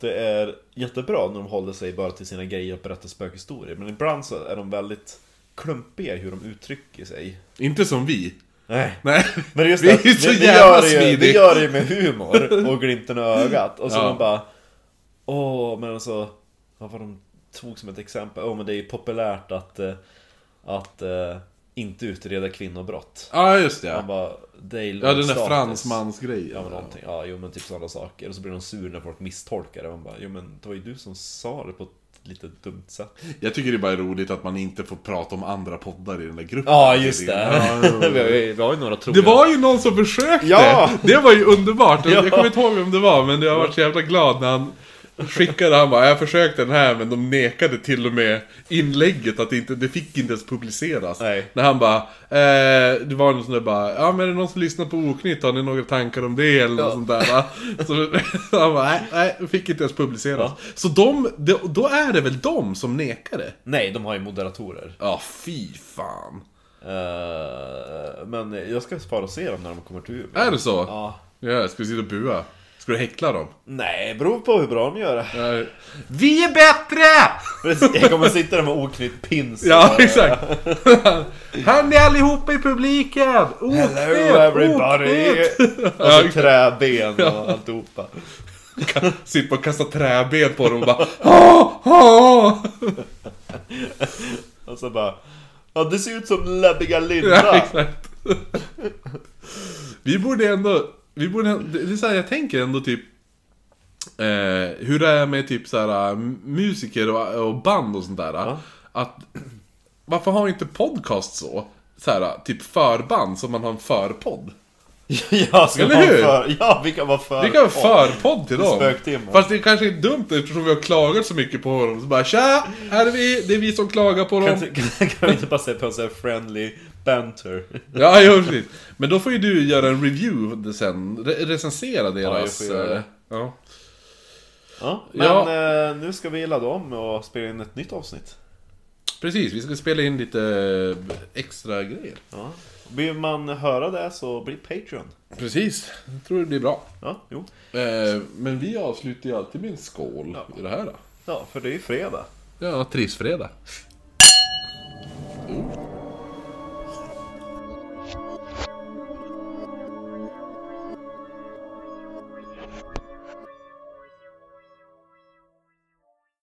Speaker 2: det är jättebra när de håller sig bara till sina grejer och berättar spökhistorier, men ibland så är de väldigt klumpiga i hur de uttrycker sig.
Speaker 1: Inte som vi.
Speaker 2: Nej.
Speaker 1: Nej.
Speaker 2: Men just
Speaker 1: *laughs* Vi
Speaker 2: det,
Speaker 1: är
Speaker 2: vi,
Speaker 1: så
Speaker 2: vi,
Speaker 1: jävla
Speaker 2: gör det ju, vi
Speaker 1: smidig.
Speaker 2: gör det ju med
Speaker 1: *laughs*
Speaker 2: humor och glimten i ögat och så
Speaker 1: Ja.
Speaker 2: man bara Åh, men alltså Vad var de tog som ett exempel? Åh, men det är ju populärt att eh, Att eh, inte utreda kvinnobrott
Speaker 1: Ja, just det.
Speaker 2: Man
Speaker 1: Ja,
Speaker 2: bara, det är
Speaker 1: ja den där
Speaker 2: status.
Speaker 1: fransmansgrejen.
Speaker 2: Ja men någonting, ja jo men typ sådana saker Och så blir de sur när folk misstolkar det Man bara, jo men det var ju du som sa det på ett lite dumt sätt
Speaker 1: Jag tycker det är bara roligt att man inte får prata om andra poddar i den där gruppen.
Speaker 2: Ja just det!
Speaker 1: Ja, jo, jo.
Speaker 2: *laughs* vi, har ju, vi har ju några trogna
Speaker 1: Det var ju någon som försökte!
Speaker 2: Ja!
Speaker 1: Det var ju underbart!
Speaker 2: Ja.
Speaker 1: Jag kommer inte ihåg vem det var, men jag var så jävla glad när han skickade. Han bara, jag försökte den här, men de nekade till och med inlägget att det inte, det fick inte ens publiceras.
Speaker 2: Nej.
Speaker 1: När han bara, eh, det var någon som där bara, ja men är det någon som lyssnar på Oknytt? Har ni några tankar om det? Eller
Speaker 2: Ja.
Speaker 1: något sånt där. va? Så, *laughs* så han bara, nej, nej, det fick inte ens publiceras. Så de, det- då är det väl de som nekade?
Speaker 2: Nej, de har ju moderatorer
Speaker 1: Ja, fy fan.
Speaker 2: Eh, men jag ska spara och se dem när de kommer till Umeå.
Speaker 1: Är det så?
Speaker 2: Ja.
Speaker 1: Ja, ska vi sitta och bua? Ska du häckla dem?
Speaker 2: Nej, beror på hur bra de gör det.
Speaker 1: Nej. Vi är bättre!
Speaker 2: Jag kommer sitta där med oknytt pins.
Speaker 1: Ja, *laughs* exakt. Hör ni allihopa i publiken? Oknytt,
Speaker 2: Hello everybody!
Speaker 1: oknytt.
Speaker 2: Och så träben och alltihopa.
Speaker 1: Sitt och kasta träben på dem och bara "Åh, åh."
Speaker 2: Och så bara... Ja, det ser ut som läbbiga Linda!
Speaker 1: Ja, exakt. Vi borde ändå, vi borde, det är så här, jag tänker ändå typ eh, hur det är med typ så här eh, musiker och, och band och sånt där. Att, varför har inte podcast så? Så här, typ förband, som man har en förpodd.
Speaker 2: ja, ska
Speaker 1: Eller
Speaker 2: vara
Speaker 1: hur?
Speaker 2: För, ja, vi kan vara för.
Speaker 1: Vi kan ha förpodd till dem.
Speaker 2: Spöktimmar.
Speaker 1: Fast det kanske är dumt eftersom vi har klagat så mycket på dem. Så bara tja, här är vi, det är vi som klagar på
Speaker 2: Kan,
Speaker 1: dem.
Speaker 2: inte- kan, kan vi inte bara säga på en sån här friendly banter?
Speaker 1: Ja, jo, precis. Men då får ju du göra en review sen. Re- recensera deras...
Speaker 2: jag får göra det.
Speaker 1: eh, ja.
Speaker 2: Ja, men
Speaker 1: Ja.
Speaker 2: eh, nu ska vi ladda om och spela in ett nytt avsnitt.
Speaker 1: Precis, vi ska spela in lite eh, extra grejer.
Speaker 2: Ja. Vill man höra det så bli Patreon.
Speaker 1: Precis, jag tror det blir bra.
Speaker 2: Ja, jo.
Speaker 1: Eh, men vi avslutar ju alltid med en skål i det här. Då.
Speaker 2: Ja, för det är ju fredag.
Speaker 1: Ja, trissfredag. Oh.